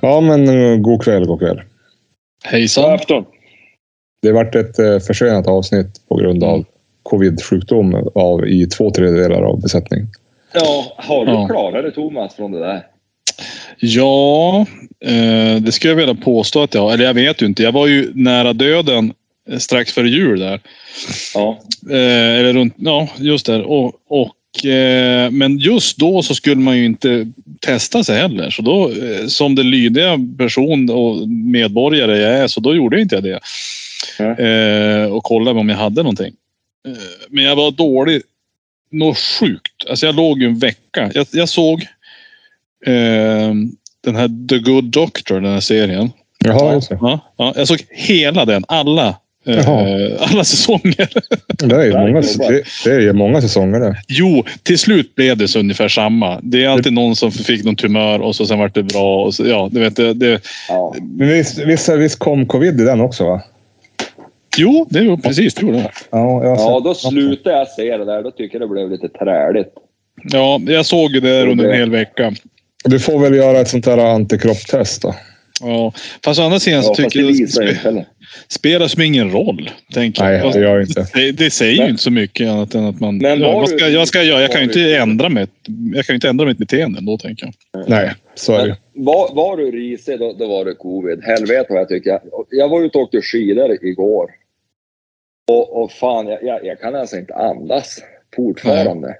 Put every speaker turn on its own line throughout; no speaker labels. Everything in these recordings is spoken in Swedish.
Ja, men eh, god kväll, god kväll.
Hejsan.
God afton.
Det vart ett eh, försenat avsnitt på grund av covid-sjukdom av, i två tredjedelar av besättningen.
Ja, har du
Ja.
klarat dig Thomas från det där?
Ja, eh, det skulle jag vilja påstå att jag har. Eller jag vet ju inte. Jag var ju nära döden eh, strax före jul där.
Ja.
Eh, eller runt, ja, just där. Och, och, eh, men just då så skulle man ju inte testa sig heller. Så då, eh, som den lydiga person och medborgare jag är, så då gjorde jag inte jag det.
Nej.
Eh, och kollade om jag hade någonting. Eh, men jag var dålig. Något sjukt. Alltså jag låg ju en vecka. Jag, jag såg eh, den här The Good Doctor, den här serien.
Jaha, just det.
Ja, ja, jag såg hela den. Alla.
Jaha.
Eh, alla säsonger.
Det är, ju
Där
många,
jobbar.
det, det är ju många säsonger det.
Jo, till slut blev det så ungefär samma. Det är alltid någon som fick någon tumör och så sen vart det bra. Och så, ja, du vet, det, det,
ja.
Men visst, visst, visst kom covid i den också? va?
jo, det var precis. Det gjorde det.
Ja, jag har
ja,
sett
då
också.
slutade jag se det där. Då tycker jag det blev lite träligt.
Ja, jag såg ju det under en hel vecka.
Du får väl göra ett sånt här antikroppstest då.
Ja. Fast å andra sidan
Ja,
så
fast
tycker
det
jag
visar ju
spe,
inte heller.
spelar som ingen roll. Tänker
Nej,
jag.
det gör jag inte.
Det, det säger ju
Men-
inte så mycket annat än att man...
Men
ja,
var
vad
du-
ska, jag, ska jag, göra? jag kan ju
var du-
inte ändra mitt, jag kan ju inte ändra mitt beteende ändå, tänker jag.
Nej, så är det.
Var, var du risig då, då var det covid. Helvete vad jag tycker. Jag var ute och åkte skidor igår. Och, och fan, jag, jag, jag kan alltså inte andas fortfarande.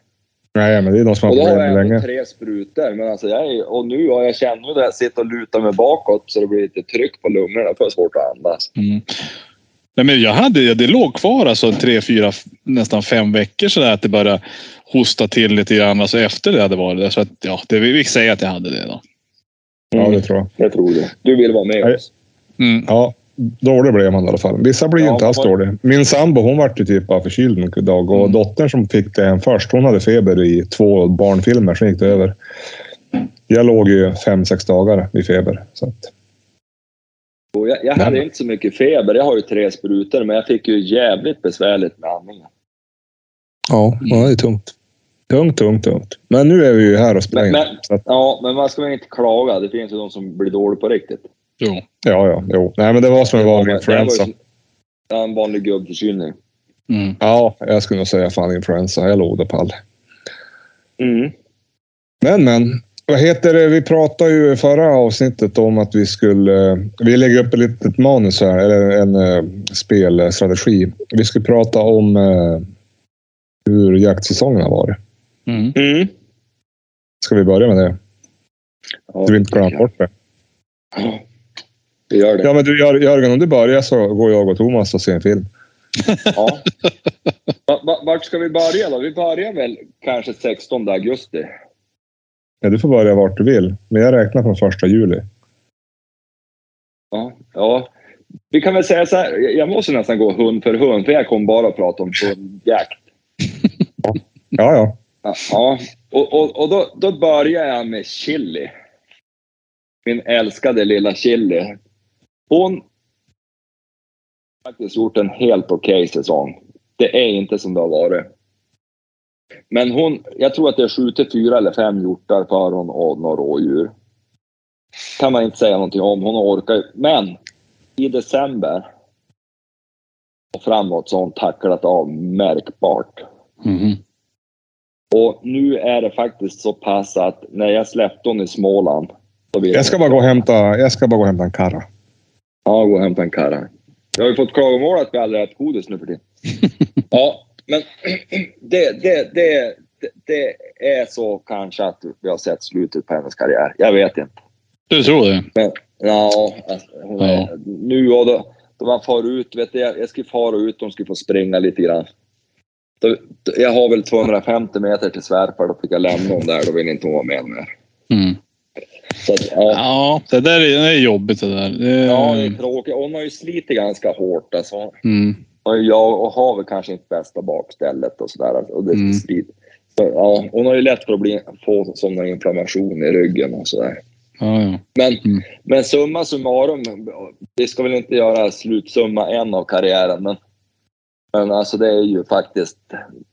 Nej, men det är de som har
Och då har
problem med
jag ändå
länge.
tre sprutor. Men alltså jag är, och nu har jag känner ju det. Jag sitter och lutar mig bakåt så det blir lite tryck på lungorna. För det är svårt att andas.
Mm. Nej, men jag hade, det låg kvar alltså tre, fyra, f- nästan fem veckor sådär att det började hosta till lite grann alltså efter det hade varit där. Så att, ja, det, vi fick säga att jag hade det då.
Ja, det tror jag.
Jag tror det. Du vill vara med
Nej.
oss.
Mm.
Ja, dålig blev man i alla fall. Vissa blir ju
Ja,
inte alls
vad-
dåliga. Min sambo hon vart ju typ av förkyld en dag och
Mm.
dottern som fick det en först, hon hade feber i två barnfilmer, sen gick det över. Jag låg ju fem, sex dagar i feber. Så att,
Och jag, jag
Nej,
hade
men-
inte så mycket feber. Jag har ju tre sprutor, men jag fick ju jävligt besvärligt med andningen.
ja, ja, det är tungt. Tungt, tungt, tungt. Men nu är vi ju här och spelar
Men,
in.
men,
Så att,
ja, men man ska väl inte klaga. Det finns ju de som blir dåliga på riktigt.
Jo.
ja, ja, jo. Nej, men det var som en vanlig
Det här var
influensa.
ju så- en vanlig gubbförkylning.
Mm.
Ja, jag skulle nog säga fan influensa. Jag låg det pall.
Mm.
Men, men. Vad heter det? Vi pratade ju i förra avsnittet om att vi skulle... eh, Vi lägger upp ett litet manus här, eller en eh, spelstrategi. Vi skulle prata om eh, hur jaktsäsongen har varit.
Mm.
Mm.
Ska vi börja med det?
Ja,
Så vi inte glömmer bort det.
Vi gör det.
Ja, men du Jör- Jörgen, om du börjar så går jag och Thomas och ser en film.
Ja. Va- va- Vart ska vi börja då? Vi börjar väl kanske 16 augusti.
Ja, du får börja vart du vill, men jag räknar från första juli.
Ja, ja. Vi kan väl säga så här. Jag måste nästan gå hund för hund, för jag kommer bara att prata om hundjakt.
Ja, ja.
Ja, och, och, och då, då börjar jag med Chili. Min älskade lilla Chili. Hon har faktiskt gjort en helt okej säsong. Det är inte som det har varit. Men hon, jag tror att det skjuter fyra eller fem hjortar för hon och några rådjur. Kan man inte säga någonting om. Hon orkar ju. Men i december och framåt så har hon tacklat av märkbart.
Mm.
Och nu är det faktiskt så pass att när jag släppte hon i Småland. Så ville
Jag ska bara gå och hämta, jag ska bara gå och hämta en karra.
Ja, gå och hämta en karra. Jag har ju fått klagomål att vi aldrig äter godis nu för tiden. ja, men det, det, det, det, det är så kanske att vi har sett slutet på hennes karriär. Jag vet inte.
Du tror det?
Ja, alltså, hon är,
Ja.
nu och då, då man far ut, vet du, jag, jag skulle fara ut, de skulle få springa lite grann. Då, då, jag har väl 250 meter till svärfar, då fick jag lämna hon där, då vill inte hon vara med mer.
Mm.
Så att, ja.
Ja, det där är, det är jobbigt det där. Det,
Ja,
Mm.
det är tråkigt. Hon har ju slitit ganska hårt. Alltså.
mm.
Och jag och har väl kanske inte bästa bakstället och sådär. Alltså, Och det
Mm.
slit. Så, ja, hon har ju lätt för att bli, få sådana inflammation i ryggen och sådär.
Ja, ja.
Men,
Mm.
men summa summarum, det ska väl inte göra slutsumma än av karriären. Men, men alltså det är ju faktiskt,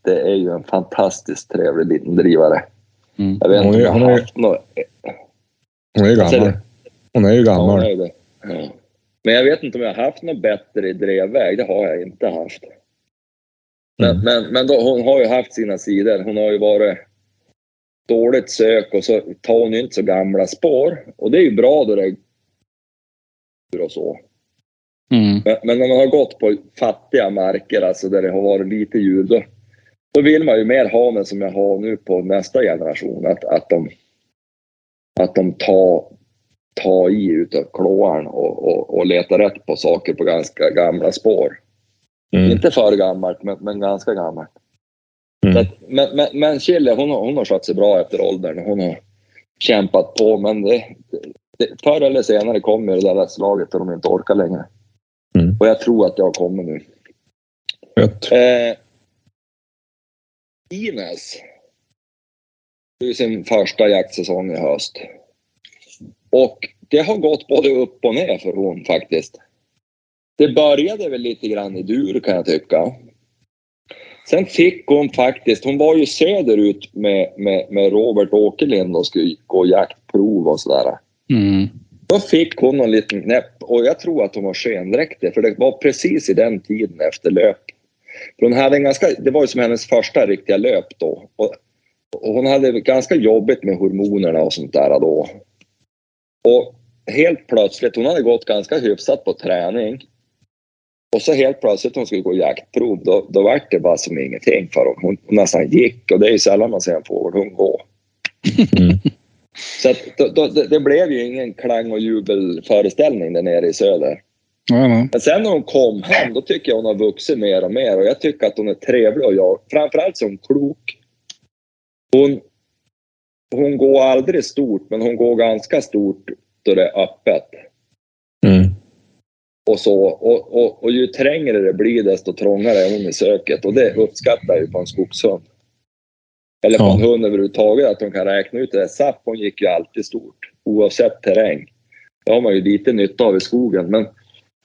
det är ju en fantastiskt trevlig liten drivare.
Mm.
Jag vet
Hon
inte
är- hon
om jag har
är-
haft något.
Hon är ju
Vad säger
gammal. Hon är ju
Ja,
gammal.
det är det. Ja. Men jag vet inte om jag har haft något bättre i drevväg. Det har jag inte haft. Men,
Mm.
men, men då, hon har ju haft sina sidor. Hon har ju varit dåligt sök och så tar hon ju inte så gamla spår. Och det är ju bra då det är och så.
Mm.
Men, men när man har gått på fattiga marker, alltså där det har varit lite djur, då, då vill man ju mer ha den som jag har nu på nästa generation. Att, att de, att de tar, tar i utav klåan och, och, och letar rätt på saker på ganska gamla spår.
Mm.
Inte för gammalt, men, men ganska gammalt.
Mm.
Så att, men, men, men Chile, hon, har- hon har skött sig bra efter åldern. Hon har kämpat på, men det, det, förr eller senare kommer det där slaget och de inte orkar längre.
Mm.
Och jag tror att det har kommit nu.
Rätt.
Eh, Ines. Det är sin första jaktsäsong i höst. Och det har gått både upp och ner för hon faktiskt. Det började väl lite grann i dur kan jag tycka. Sen fick hon faktiskt, hon var ju söderut med, med, med Robert Åkerlind och skulle gå jaktprov och sådär.
Mm.
Då fick hon en liten knäpp och jag tror att hon var skendräktig för det var precis i den tiden efter löp. För hon hade en ganska, det var ju som hennes första riktiga löp då. Och, och hon hade ganska jobbigt med hormonerna och sånt där då. Och helt plötsligt, hon hade gått ganska hyfsat på träning. Och så helt plötsligt när hon skulle gå jaktprov, då, då var det bara som ingenting för hon. Hon nästan gick och det är ju sällan man ser en fågelhund gå.
Mm.
Så att, då, då, det, det blev ju ingen klang och jubelföreställning där nere i söder.
Ja, ja.
Men sen när hon kom hem, då tycker jag hon har vuxit mer och mer. Och jag tycker att hon är trevlig och jag, framförallt så är hon klok. Hon, hon går aldrig stort, men hon går ganska stort då det är öppet.
Mm.
Och, så. Och, och, och ju trängre det blir, desto trångare är hon i söket. Och det uppskattar jag ju på en skogshund. Eller på
Ja.
en hund överhuvudtaget, att hon kan räkna ut det. där. Zapp, hon gick ju alltid stort, oavsett terräng. Det har man ju lite nytta av i skogen. Men,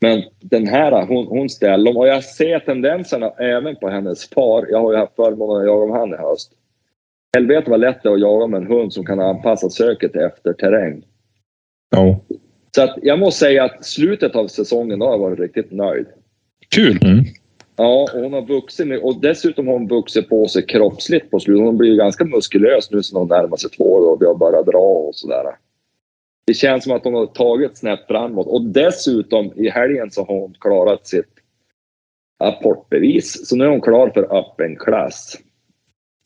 men den här, hon, hon ställer om. Och jag ser tendenserna även på hennes far. Jag har ju haft förmånen att jaga med han i höst. Helvete vad lätt det är att jaga med en hund som kan anpassa söket efter terräng.
Ja.
Så att jag måste säga att slutet av säsongen har jag varit riktigt nöjd.
Kul!
Mm.
Ja, och hon har vuxit nu och dessutom har hon vuxit på sig kroppsligt på slutet. Hon blir ju ganska muskulös nu sen hon närmar sig två år och vi har börjat dra och sådär. Det känns som att hon har tagit snett framåt och dessutom i helgen så har hon klarat sitt apportbevis. Så nu är hon klar för öppen klass.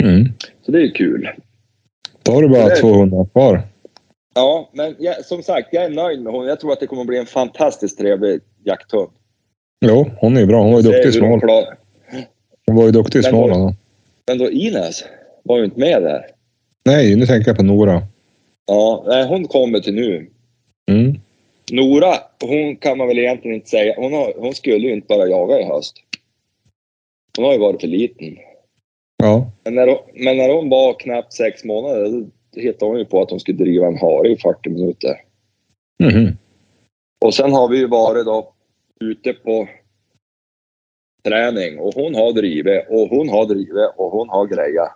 Mm.
Så det är ju kul.
Då har du bara 200 kvar.
Ja, men jag, som sagt, jag är nöjd med hon. Jag tror att det kommer bli en fantastiskt trevlig jakthund.
Jo, hon är ju bra. Hon var ju
Se
duktig i
hur hon
Småland.
klarar-
Hon var ju duktig i
Men hon-
Småland.
Men då Ines var ju inte med där.
Nej, nu tänker jag på Nora.
Ja, nej, hon kommer till nu.
Mm.
Nora, hon kan man väl egentligen inte säga. Hon, har, hon skulle ju inte bara jaga i höst. Hon har ju varit för liten.
Ja.
Men när hon, men när hon var knappt sex månader då hittade hon ju på att hon skulle driva en hare i 40 minuter.
Mhm.
Och sen har vi ju varit då ute på träning och hon har drivit och hon har drivit och hon har grejat.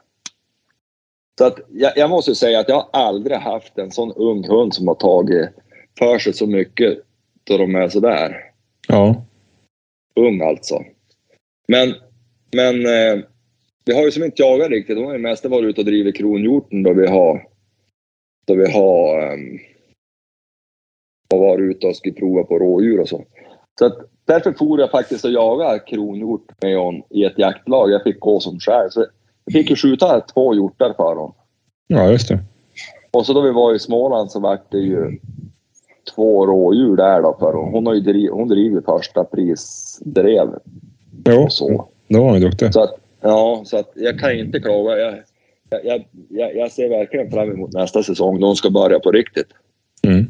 Så att jag, jag måste säga att jag har aldrig haft en sån ung hund som har tagit för sig så mycket då de är sådär
Ja.
ung alltså. Men, men eh, vi har ju som inte jagat riktigt. Hon har ju mest varit ute och drivit kronhjorten då vi har, då vi har ehm, har varit ute och skulle prova på rådjur och så. Så att därför for jag faktiskt och jaga kronhjort med hon i ett jaktlag. Jag fick gå som själv. Så jag fick ju skjuta två hjortar för hon.
Ja, just det.
Och så då vi var i Småland så vart det ju två rådjur där då för hon. Hon, har ju driv, hon driver första prisdrev
Jo,
och så.
då var hon ju duktig.
Så att, ja, så att jag kan inte klaga. Jag, jag- jag, jag, jag ser verkligen fram emot nästa säsong då hon ska börja på riktigt.
Mm.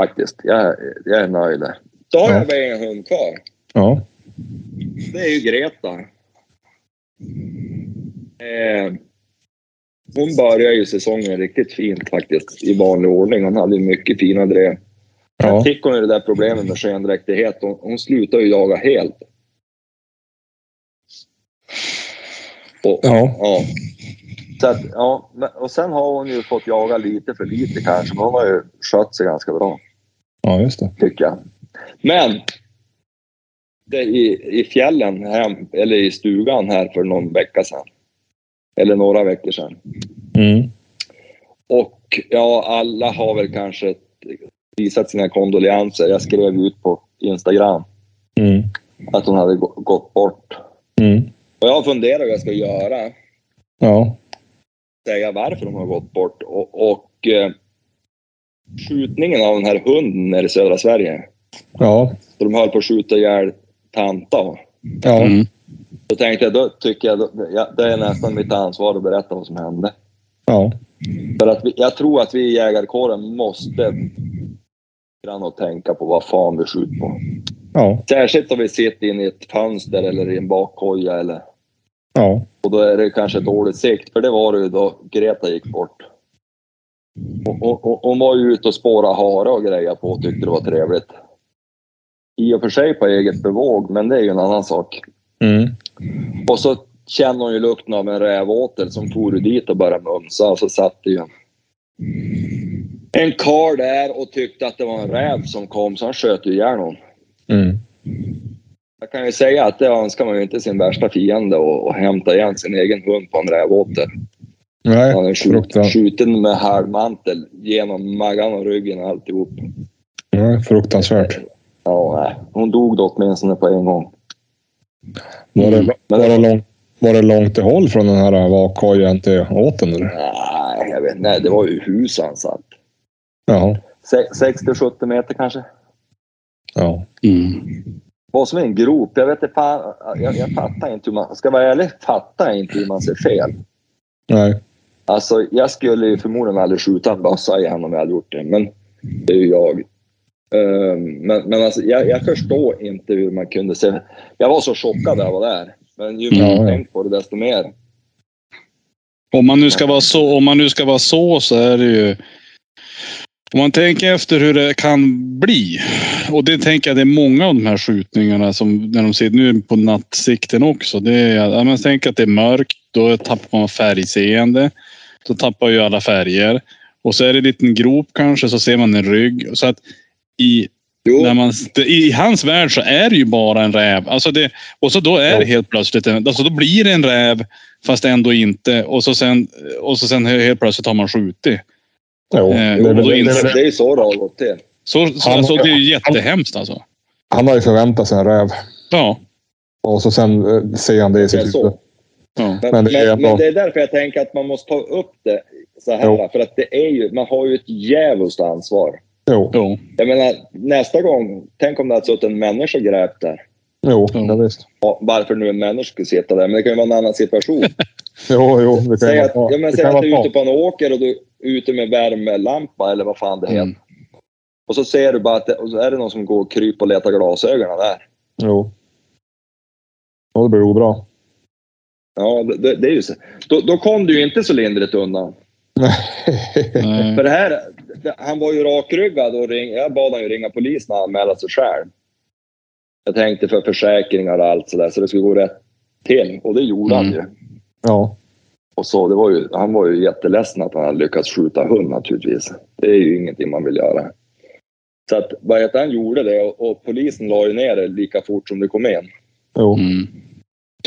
Faktiskt. Jag, jag är nöjd där. Då har
Ja.
jag bara en hund kvar.
Ja.
Det är ju Greta. Eh, hon började ju säsongen riktigt fint faktiskt i vanlig ordning. Hon hade ju mycket fina drev. Sen
Ja,
fick hon ju det där problemet med skendräktighet. Hon, hon slutade ju jaga helt. Och,
ja.
Ja. Så att, ja. men- Och sen har hon ju fått jaga lite för lite kanske, men hon har ju skött sig ganska bra,
ja just det.
tycker jag. Men! Det i, I fjällen, hem, eller i stugan här för någon vecka sedan. Eller några veckor sedan.
Mm.
Och ja, alla har väl kanske visat sina kondolenser. Jag skrev ut på Instagram
Mm.
att hon hade gå- gått bort.
Mm.
Och jag funderar vad jag ska göra.
Ja.
säga varför de har gått bort. Och, och eh, skjutningen av den här hunden är i södra Sverige.
Ja.
Så de höll på att skjuta ihjäl tanta.
Ja.
Mm.
Då tänkte jag, då tycker jag, då, ja, det är nästan mitt ansvar att berätta vad som hände.
Ja.
För att vi, jag tror att vi i jägarkåren måste grann och tänka på vad fan vi skjuter på.
Ja.
Särskilt om vi sitter inne i ett fönster eller i en bakkoja eller
Ja.
Och då är det kanske dålig sikt, för det var det ju då Greta gick bort. Och, och, och, hon var ju ute och spåra hare och grejer på och tyckte det var trevligt. I och för sig på eget bevåg, men det är ju en annan sak.
Mm.
Och så känner hon ju lukten av en rävåtel som for ju dit och började mumsa och så satt det ju en, en karl där och tyckte att det var en räv som kom så han sköt ju ihjäl hon.
Mm.
Jag kan ju säga att det önskar man ju inte sin värsta fiende och, och hämta igen sin egen hund på en rävåtel.
Nej,
Han är skjut,
fruktansvärt.
skjuten med halvmantel genom magen och ryggen och alltihop.
Nej, fruktansvärt.
Ja, nej. Hon dog då åtminstone på en gång.
Var det,
Mm. Men-
var det, lång, var det långt till håll från den här vakkojan till åten? Eller?
Nej, jag vet Nej, det var ju hus han satt.
Ja.
Se- 60-70 meter kanske.
Ja.
Mm.
Var som en grop. Jag vet inte fan. Jag, jag fattar inte hur man... Ska jag vara ärlig fattar jag inte hur man ser fel.
Nej.
Alltså, jag skulle ju förmodligen aldrig skjuta en bössa igen om jag hade gjort det. Men det är ju jag. Ehm, Men, men alltså, jag, jag förstår inte hur man kunde se. Jag var så chockad när jag var där. Men ju mer
Ja,
jag
ja.
tänkt på det desto mer.
Om man nu ska vara så, om man nu ska vara så, så är det ju. Om man tänker efter hur det kan bli. Och det tänker jag, det är många av de här skjutningarna som när de ser nu på nattsikten också. Det är, ja, man tänker att det är mörkt, då tappar man färgseende. Då tappar ju alla färger. Och så är det en liten grop kanske, så ser man en rygg. Så att i
Jo,
När man, I hans värld så är det ju bara en räv. Alltså det, och så då är det helt plötsligt en, alltså då blir det en räv fast ändå inte. Och så sen, och så sen helt plötsligt har man skjutit.
Jo.
Eh,
det är
och
väl-
då
det är
inser-
väl-
det är ju så det har gått till.
Så, så
Han-
alltså, det är ju jättehemskt alltså.
Han har ju förväntat sig en räv
Ja.
och så sen eh, ser han det i
Det är
sitt huvud.
så.
ja.
Men
Men, men,
det är
men,
ändå-
det är därför jag tänker att man måste ta upp det så här.
Jo.
För att det är ju, man har ju ett djävulskt ansvar.
Jo,
Jo.
Jag menar, nästa gång, tänk om det hade suttit en människa och grävt där.
jo,
Mm.
ja, visst.
Ja, Varför nu en människa skulle sitta där, men det kan ju vara en annan situation.
Jo, jo, det kan
Säg
ju
att, ja,
vara
men
det
säg
kan
att du
vara
är ute
bra.
på en åker och du är ute med värmelampa eller vad fan det heter.
Mm.
Och så ser du bara att det, och så är det någon som går och kryper och letar glasögonen där.
Jo. Ja, det blir obra.
Ja, det- det, det är ju så. Då, då kom du ju inte så lindrigt undan.
Nej.
För det här, det, han var ju rakryggad och ring, jag bad han ju ringa polisen och anmäla sig själv. Jag tänkte för försäkringar och allt sådär så det skulle gå rätt till. Och det gjorde han
Mm.
ju.
ja.
Och så, det var ju, han var ju jätteledsen att han hade lyckats skjuta hund naturligtvis. Det är ju ingenting man vill göra. Så att, vad heter han gjorde det och, och polisen la ju ner det lika fort som det kom in.
Jo.
Mm.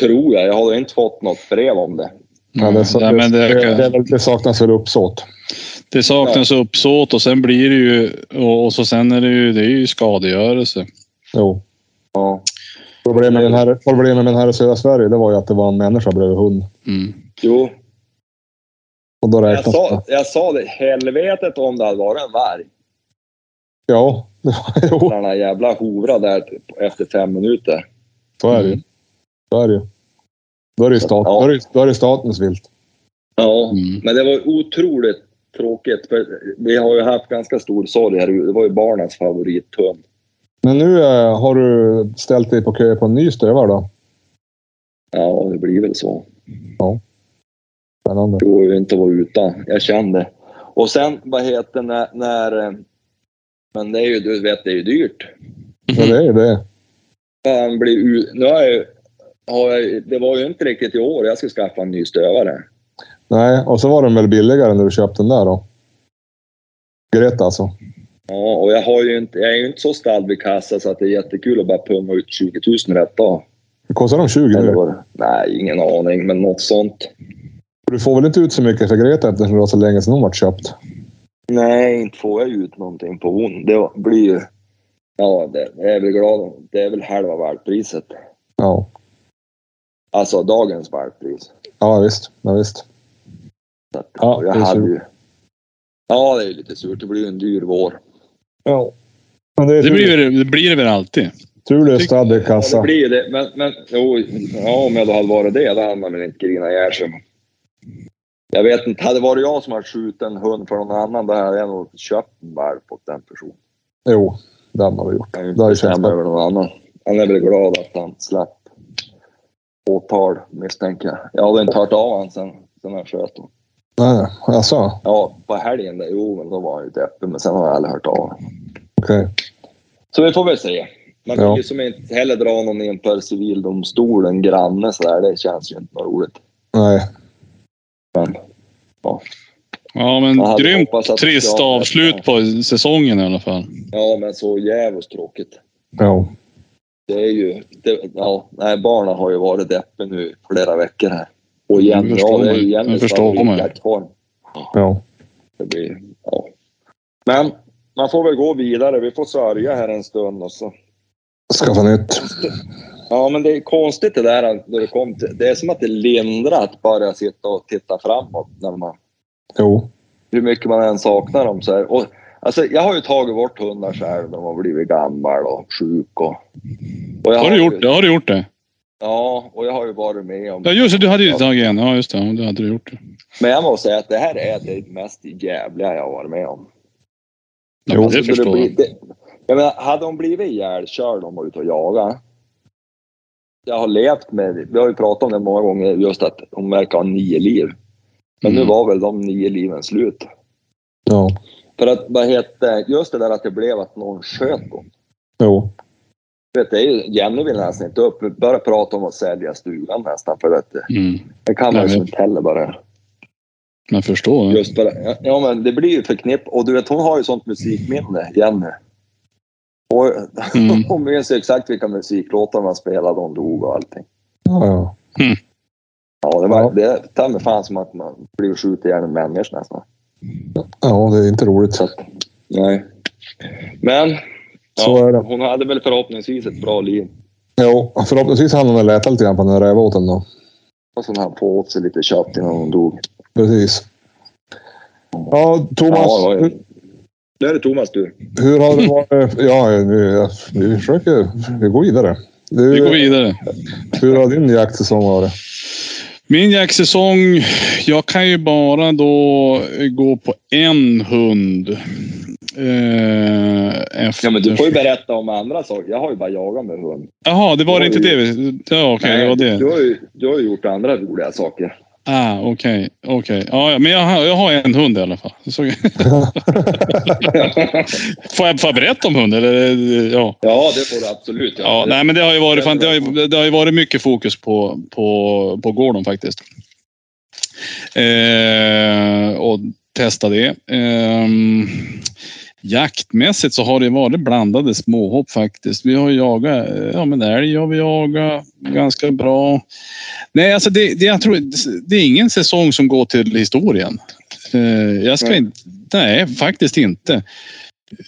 Tror jag. Jag har inte fått något brev om det.
Ja, det,
Nej, men det,
det, det, det saknas väl uppsåt.
det saknas uppsåt och sen blir det ju och, och så sen är det ju, det är ju skadegörelse.
Jo.
Ja.
Problemet med, den här, problemet med den här i södra Sverige det var ju att det var en människa bredvid hund.
Mm.
Jo,
Och då
jag
räknas det.
sa, jag sa det. Helvetet om det hade varit en varg.
Ja, det var- jo,
när Den här jävla hovra där efter fem minuter.
så är det
Mm.
ju. Så är det ju. Då är det ju stat,
Ja.
då är det, då är det statens vilt.
Ja,
Mm.
men det var otroligt tråkigt. För vi har ju haft ganska stor sorg här. ute. Det var ju barnens favorithund.
Men nu eh, har du ställt dig på kö på en ny stövare då?
Ja, det blir väl så.
Ja. Spännande.
Det går ju inte att vara utan. Jag känner det. Och sen, vad heter när, när... eh, Men det är ju, du vet, det är ju dyrt. Mhm.
Ja, det är ju det.
Fan, blir ut, nu har jag, ju- har jag, det var ju inte riktigt i år jag skulle skaffa en ny stövare.
Nej, och så var den väl billigare när du köpte den där då? Greta alltså.
Ja, och jag, har ju inte, jag är ju inte så stall vid kassa så att det är jättekul att bara punga ut 20 000 rätt dag.
Kostar de 20
Eller
nu?
vad det- Nej, ingen aning, men något sånt.
Du får väl inte ut så mycket för Greta eftersom det var så länge sedan hon vart köpt?
Nej, inte får jag ut någonting på hon. Det blir ju... Ja, det, jag är väl glad om- Det är väl halva valppriset.
Ja,
Alltså dagens valppris.
ja visst. Ja, visst.
Så att,
Ja,
jag
det är
hade
surt.
ju... Ja, det är ju lite surt. Det blir ju en dyr vår.
Ja. Men det är
Det
tur,
blir, det blir det väl alltid.
turlöst hade i
Ja, det
kassa.
blir ju det. Men, men jo, ja, om jag då hade varit det, då hade man väl inte grinat ihjäl sig. Jag vet inte, hade det varit jag som hade skjutit en hund för någon annan, då hade jag nog köpt en valp åt den personen.
Jo, det hade man väl gjort.
Jag kan ju
Det
inte
hade ju känts
bestämma
bättre.
över någon annan. Han är väl glad att han slapp åtal, misstänker jag. Jag hade inte hört av honom sen, sen han sköt honom.
Nej, alltså.
Ja, på helgen där, jo, men då var han ju deppig, men sen har jag aldrig hört av honom.
Okej.
Så vi får väl se. Man vill
Ja.
ju som inte heller dra någon inför civildomstolen, granne sådär. Det känns ju inte något roligt.
Nej.
Men, ja.
Ja, men
Jag hade
grymt
hoppats att
trist
jag-
avslut på säsongen i alla fall.
ja, men så jävligt tråkigt.
Ja.
Det är ju... Det, ja, nej, barnen har ju varit deppiga nu flera veckor här. Och
Jag
igen, ja,
Mm, förstår
det är
mig.
ju igen
Jag förstår mig.
plattform.
Ja.
Det blir, ja. Men man får väl gå vidare. Vi får sörja här en stund. Och så.
Skaffa nytt.
Ja, men det är konstigt det där när det kom till, Det är som att det lindrar att bara sitta och titta framåt. När man,
Jo.
hur mycket man än saknar dem. Så här. Och, alltså, jag har ju tagit bort hundar själv. De har blivit gammal och sjuk. Och, och jag
Har du gjort det?
Ju,
Har du gjort det?
ja, och jag har ju varit med om
Ja, just det. Du hade ju tagit en. Ja, just det. Ja, du hade du gjort det.
Men jag måste säga att det här är det mest jävliga jag har varit med om.
Ja,
Jo,
det
Alltså,
förstår
blir-
jag.
det- jag menar, hade hon blivit ihjälkörd om hon var ute och jaga. Jag har levt med, vi har ju pratat om det många gånger, just att hon verkar ha nio liv. Men
Mm.
nu var väl de nio liven slut.
Ja.
För att, vad heter, just det där att det blev att någon sköt hon.
Jo.
Vet, du, det är ju, Jenny vill nästan inte upp. Vi börjar prata om att sälja stugan nästan. För att, eh,
Mm.
det kan man
Nej,
ju
men-
inte heller bara.
Men Jag förstår.
Just för, ja, ja, men det blir ju förknipp Och du vet, hon har ju sånt musikminne, Jenny. Och,
Mm.
hon minns ju exakt vilka musiklåtar man spelade, hon dog och allting.
Ja, ja.
Ja, det var
Ja.
det är ta mig fan som att man blir skjuten ihjäl en människa nästan.
ja, det är inte roligt.
Så att, nej. Men
Så är det.
hon hade väl förhoppningsvis ett bra liv.
Jo, förhoppningsvis hann hon väl äta lite grann på den där rävåten då.
Och sen han få åt sig lite kött innan hon dog.
Precis. Ja, Thomas.
Ja, det var
hur,
ju- Nu är det Thomas du.
hur har det varit? Ja, vi, vi försöker. Vi går vidare. Du,
Vi går vidare.
Hur har din jaktsäsong varit?
Min jaktsäsong. Jag kan ju bara då gå på en hund. Eh, efter...
Ja, men du får ju berätta om andra saker. Jag har ju bara jagat med hund.
Jaha, det var inte det. vi- Ja, okej. det var det.
Du, har ju, du har ju gjort andra roliga saker.
Ah, okej. okej. Ja, ja, men jag, har- jag har en hund i alla fall. Så, får, jag, får jag berätta om hund? Eller, ja.
Ja, det får du absolut göra.
Ja, nej, men det har ju varit, fan, det har ju, det har ju varit mycket fokus på, på, på Gordon faktiskt. Eh, och testa det. Ehm, jaktmässigt så har det varit blandade småhopp faktiskt. Vi har ju jagat eh, ja, men älg har vi jagat ganska bra. Nej, alltså det, det, jag tror, det är ingen säsong som går till historien. Eh, jag ska
Nej.
inte... Nej, faktiskt inte.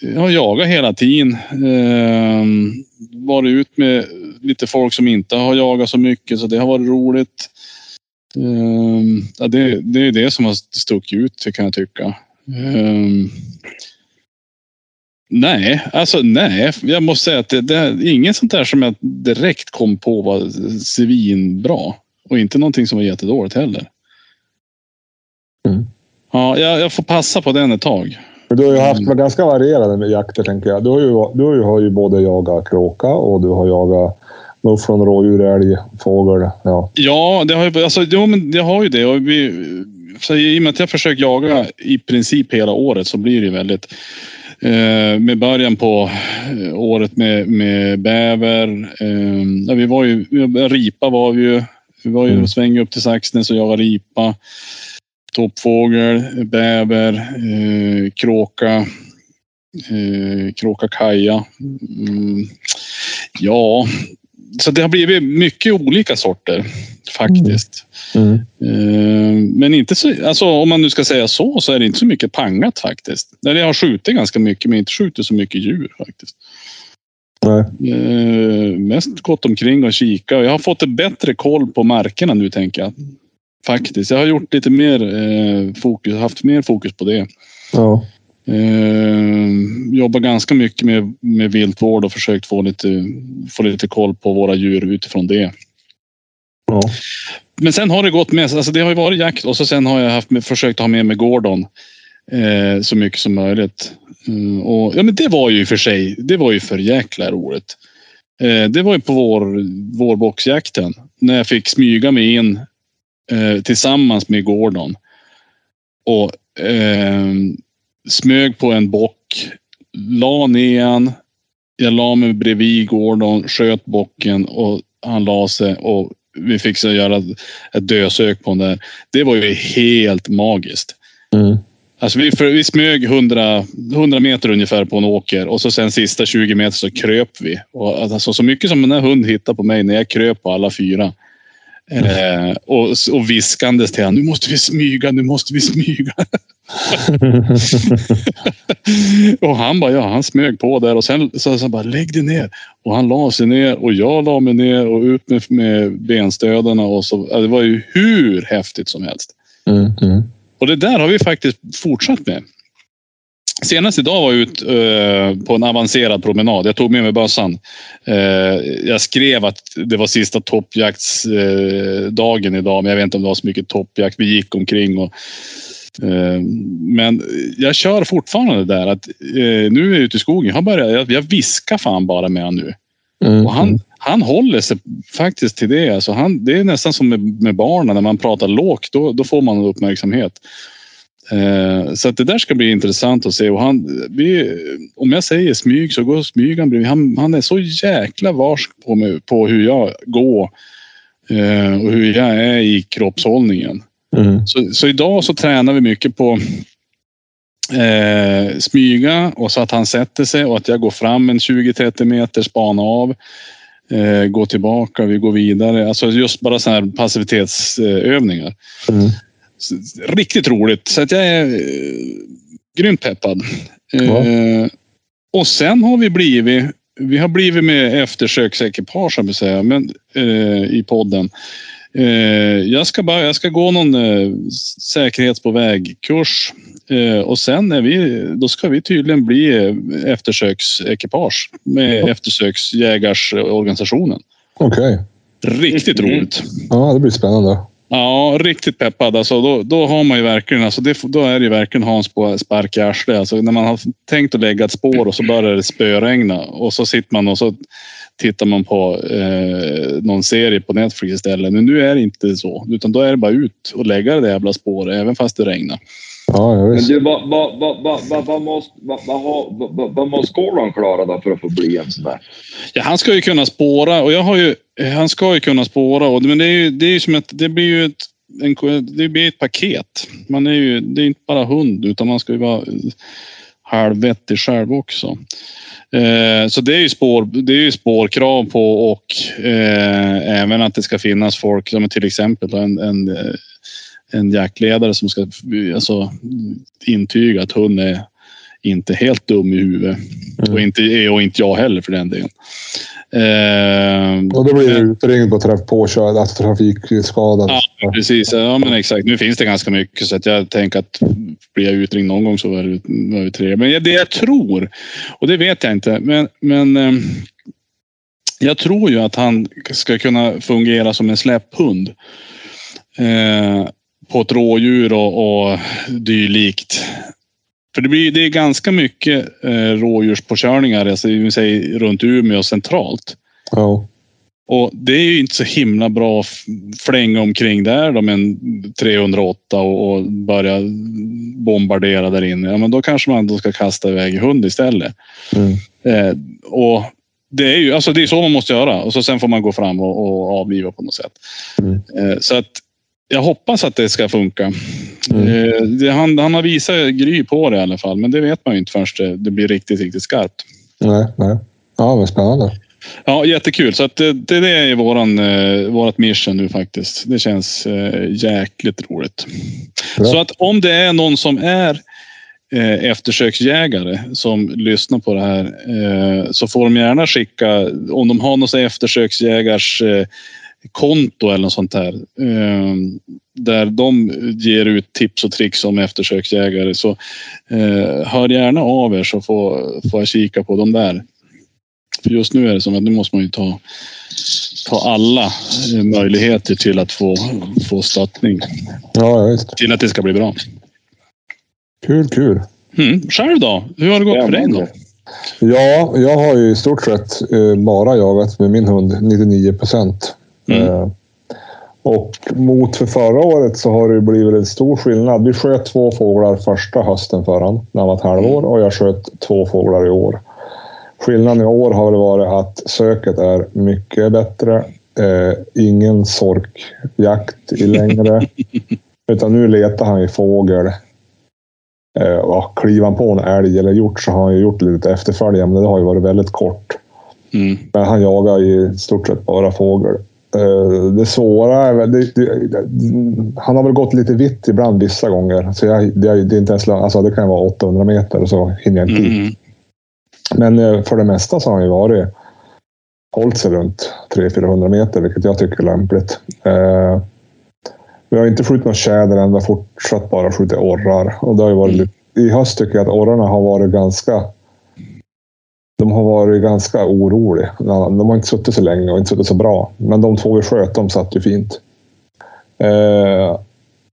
Jag har jagat hela tiden. Ehm, varit ut med lite folk som inte har jagat så mycket, så det har varit roligt. Ehm, ja, det, det är det som har stuckit ut, kan jag tycka. Ehm, nej, alltså nej. Jag måste säga att det, det är inget sånt där som jag direkt kom på var svinbra. Och inte någonting som var jättedåligt heller.
Mm.
Ja, jag, jag får passa på den ett tag.
Men Du har ju haft
Mm.
ganska varierade jakter tänker jag. Du har ju, du har ju, har ju både jagat kråka och du har jagat Mufflon, rådjur, älg, fågel. Ja.
Ja, det har ju, alltså, jo, men det har ju det. Och vi, så I och med att jag försökt jaga i princip hela året så blir det ju väldigt... Eh, med början på eh, året med, med bäver. Eh, ja, vi var ju, ripa var vi ju. Vi var ju
Mm.
och svängde upp till Saxnäs och jagade ripa. Toppfågel, bäver, eh, kråka. Eh, kråka kaja. Mm. Ja, så det har blivit mycket olika sorter faktiskt.
Mm.
Eh, Men inte så, alltså, om man nu ska säga så, så är det inte så mycket pangat faktiskt. Eller jag har skjutit ganska mycket, men inte skjutit så mycket djur faktiskt.
Nej.
Eh, mest gått omkring och kika. Jag har fått en bättre koll på markerna nu tänker jag. Faktiskt. Jag har gjort lite mer eh, fokus, haft mer fokus på det.
Ja.
Eh, jobbar ganska mycket med, med viltvård och försökt få lite, få lite koll på våra djur utifrån det.
Ja.
Men sen har det gått med, alltså det har ju varit jakt och så sen har jag haft med, försökt ha med mig Gordon eh, så mycket som möjligt. Mm, och, ja, men det var ju i och för sig, det var ju för jäkla roligt. Eh, det var ju på vår, vårboxjakten när jag fick smyga mig in eh, tillsammans med Gordon. Och eh, smög på en bock, la ner han. Jag la mig bredvid Gordon, sköt bocken och han la sig och vi fick så göra ett dösök på den där. Det var ju helt magiskt.
Mm.
Alltså vi, för, vi smög 100, 100 meter ungefär på en åker och så sen sista 20 meter så kröp vi. Och alltså, så mycket som den här hunden hittade på mig när jag kröp på alla fyra. Eh, och, och viskandes till honom. Nu måste vi smyga, nu måste vi smyga. och han bara, ja han smög på där och sen så, så bara lägg dig ner. Och han la sig ner och jag la mig ner och ut med, med benstödarna och så. ja, Det var ju hur häftigt som helst.
Mm. Mm.
Och det där har vi faktiskt fortsatt med. Senast idag var jag ut eh, på en avancerad promenad. Jag tog med mig bössan. Eh, jag skrev att det var sista toppjaktsdagen eh, dagen idag, men jag vet inte om det var så mycket toppjakt. Vi gick omkring och eh, men jag kör fortfarande det där att eh, nu är jag ute i skogen. Jag, börjar, jag, jag viskar fan bara med honom nu.
Mm.
Och han, han håller sig faktiskt till det. Alltså han, det är nästan som med, med barnen, när man pratar lågt, då, då får man uppmärksamhet. Eh, så att det där ska bli intressant att se. Och han, vi, om jag säger smyg så går smygan bredvid. Han, han är så jäkla varsk på, mig, på hur jag går eh, och hur jag är i kroppshållningen.
Mm.
Så, så idag så tränar vi mycket på eh, smyga och så att han sätter sig och att jag går fram en 20-30 meter, spana av, eh, gå tillbaka, vi går vidare. Alltså just bara sådana här passivitetsövningar.
Mm.
Så, riktigt roligt, så att jag är eh, grymt peppad. Eh,
Ja.
Och sen har vi blivit, vi har blivit med eftersöksekipage, så att säga, men, eh, i podden. Eh, jag, ska bara, jag ska gå någon eh, säkerhets på vägkurs eh, och sen är vi, då ska vi tydligen bli eh, eftersöksekipage med eftersöksjägarsorganisationen.
Okej.
Riktigt
Mhm.
roligt.
Ja, det blir spännande.
Ja, riktigt peppad. Alltså, då, då har man ju verkligen, alltså, det, då är det ju verkligen Hans på spark i arslet. Alltså, när man har tänkt att lägga ett spår och så börjar det spöregna och så sitter man och så tittar man på eh, någon serie på Netflix istället. Men nu är det inte så, utan då är det bara ut och lägga det där jävla spåret, även fast det regnar.
Ja, ja
Men
visst.
du, vad, vad, vad, vad, vad, vad måste, vad, vad, har- vad, vad, vad måste Gordon klara då för att få bli en sån där?
Ja, han ska ju kunna spåra och jag har ju, han ska ju kunna spåra. Och, men det, är ju, det, är ju som ett, det blir ju ett, en, det blir ett paket. Man är ju, det är inte bara hund utan man ska ju vara halvvettig själv också. Eh, så det är ju, spår, det är ju spårkrav på och eh, även att det ska finnas folk, som till exempel då en, en, eh, en jaktledare som ska alltså, intyga att hund är inte helt dum i huvudet.
Mm.
Och, inte, och inte jag heller för den delen. Eh,
Och då blir det utringd på träff påkörd, alltså trafikskadad.
Ja, precis. Ja, men exakt. Nu finns det ganska mycket så att jag tänker att blir jag utringd någon gång så var det, var det trevligt. Men det jag tror, och det vet jag inte, men, men ehm, jag tror ju att han ska kunna fungera som en släpphund. Eh, på ett rådjur och, och dylikt. För det, blir, det är ganska mycket eh, rådjurspåkörningar, alltså, vi säger runt Umeå centralt.
Ja.
Och det är ju inte så himla bra f- flänga omkring där då med en 308 och, och börja bombardera där inne. Ja, men då kanske man då ska kasta iväg hund istället.
Mm.
Eh, och det är ju alltså det är så man måste göra och så sen får man gå fram och, och avliva på något sätt.
Mm.
Eh, så att jag hoppas att det ska funka.
Mm.
Eh, det, han, han har visat gry på det i alla fall, men det vet man ju inte förrän det, det blir riktigt, riktigt skarpt.
Nej, nej. Ja, men spännande.
Ja, jättekul. Så att det, det, det är våran, eh, vårat mission nu faktiskt. Det känns eh, jäkligt roligt.
Bra.
Så att om det är någon som är eh, eftersöksjägare som lyssnar på det här eh, så får de gärna skicka om de har något så här eftersöksjägars eh, konto eller något sånt här. Eh, där de ger ut tips och tricks om eftersöksjägare så eh, hör gärna av er så får, får jag kika på de där. För just nu är det som att nu måste man ju ta, ta alla eh, möjligheter till att få, få stöttning
Ja, ja, visst.
till att det ska bli bra.
Kul, kul.
Mm. Själv då? Hur har det gått för dig då?
Ja, jag har ju i stort sett eh, bara jagat med min hund, 99 procent.
Mm.
Eh, och mot för förra året så har det ju blivit en stor skillnad. Vi sköt två fåglar första hösten för han, när han var ett halvår, och jag sköt två fåglar i år. Skillnaden i år har väl varit att söket är mycket bättre. Eh, ingen sorkjakt i längre. Utan nu letar han ju fågel. Eh, och kliver han på en älg eller hjort så har han ju gjort lite efterföljare, men det har ju varit väldigt kort.
Mm.
Men han jagar ju i stort sett bara fågel. Eh, det svåra är väl... Det, det, det, han har väl gått lite vitt ibland vissa gånger. Så jag, det, det, är inte ens, alltså det kan vara 800 meter och så hinner jag inte dit.
Mm.
Men eh, för det mesta så har han ju varit hållit sig runt 300-400 meter, vilket jag tycker är lämpligt. Eh, vi har inte skjutit någon tjäder än, vi har fortsatt bara skjutit orrar. Och det har ju varit,
Mm.
lite- I höst tycker jag att orrarna har varit ganska de har varit ganska oroliga. De har inte suttit så länge och inte suttit så bra. Men de två vi sköt, de satt ju fint. Eh,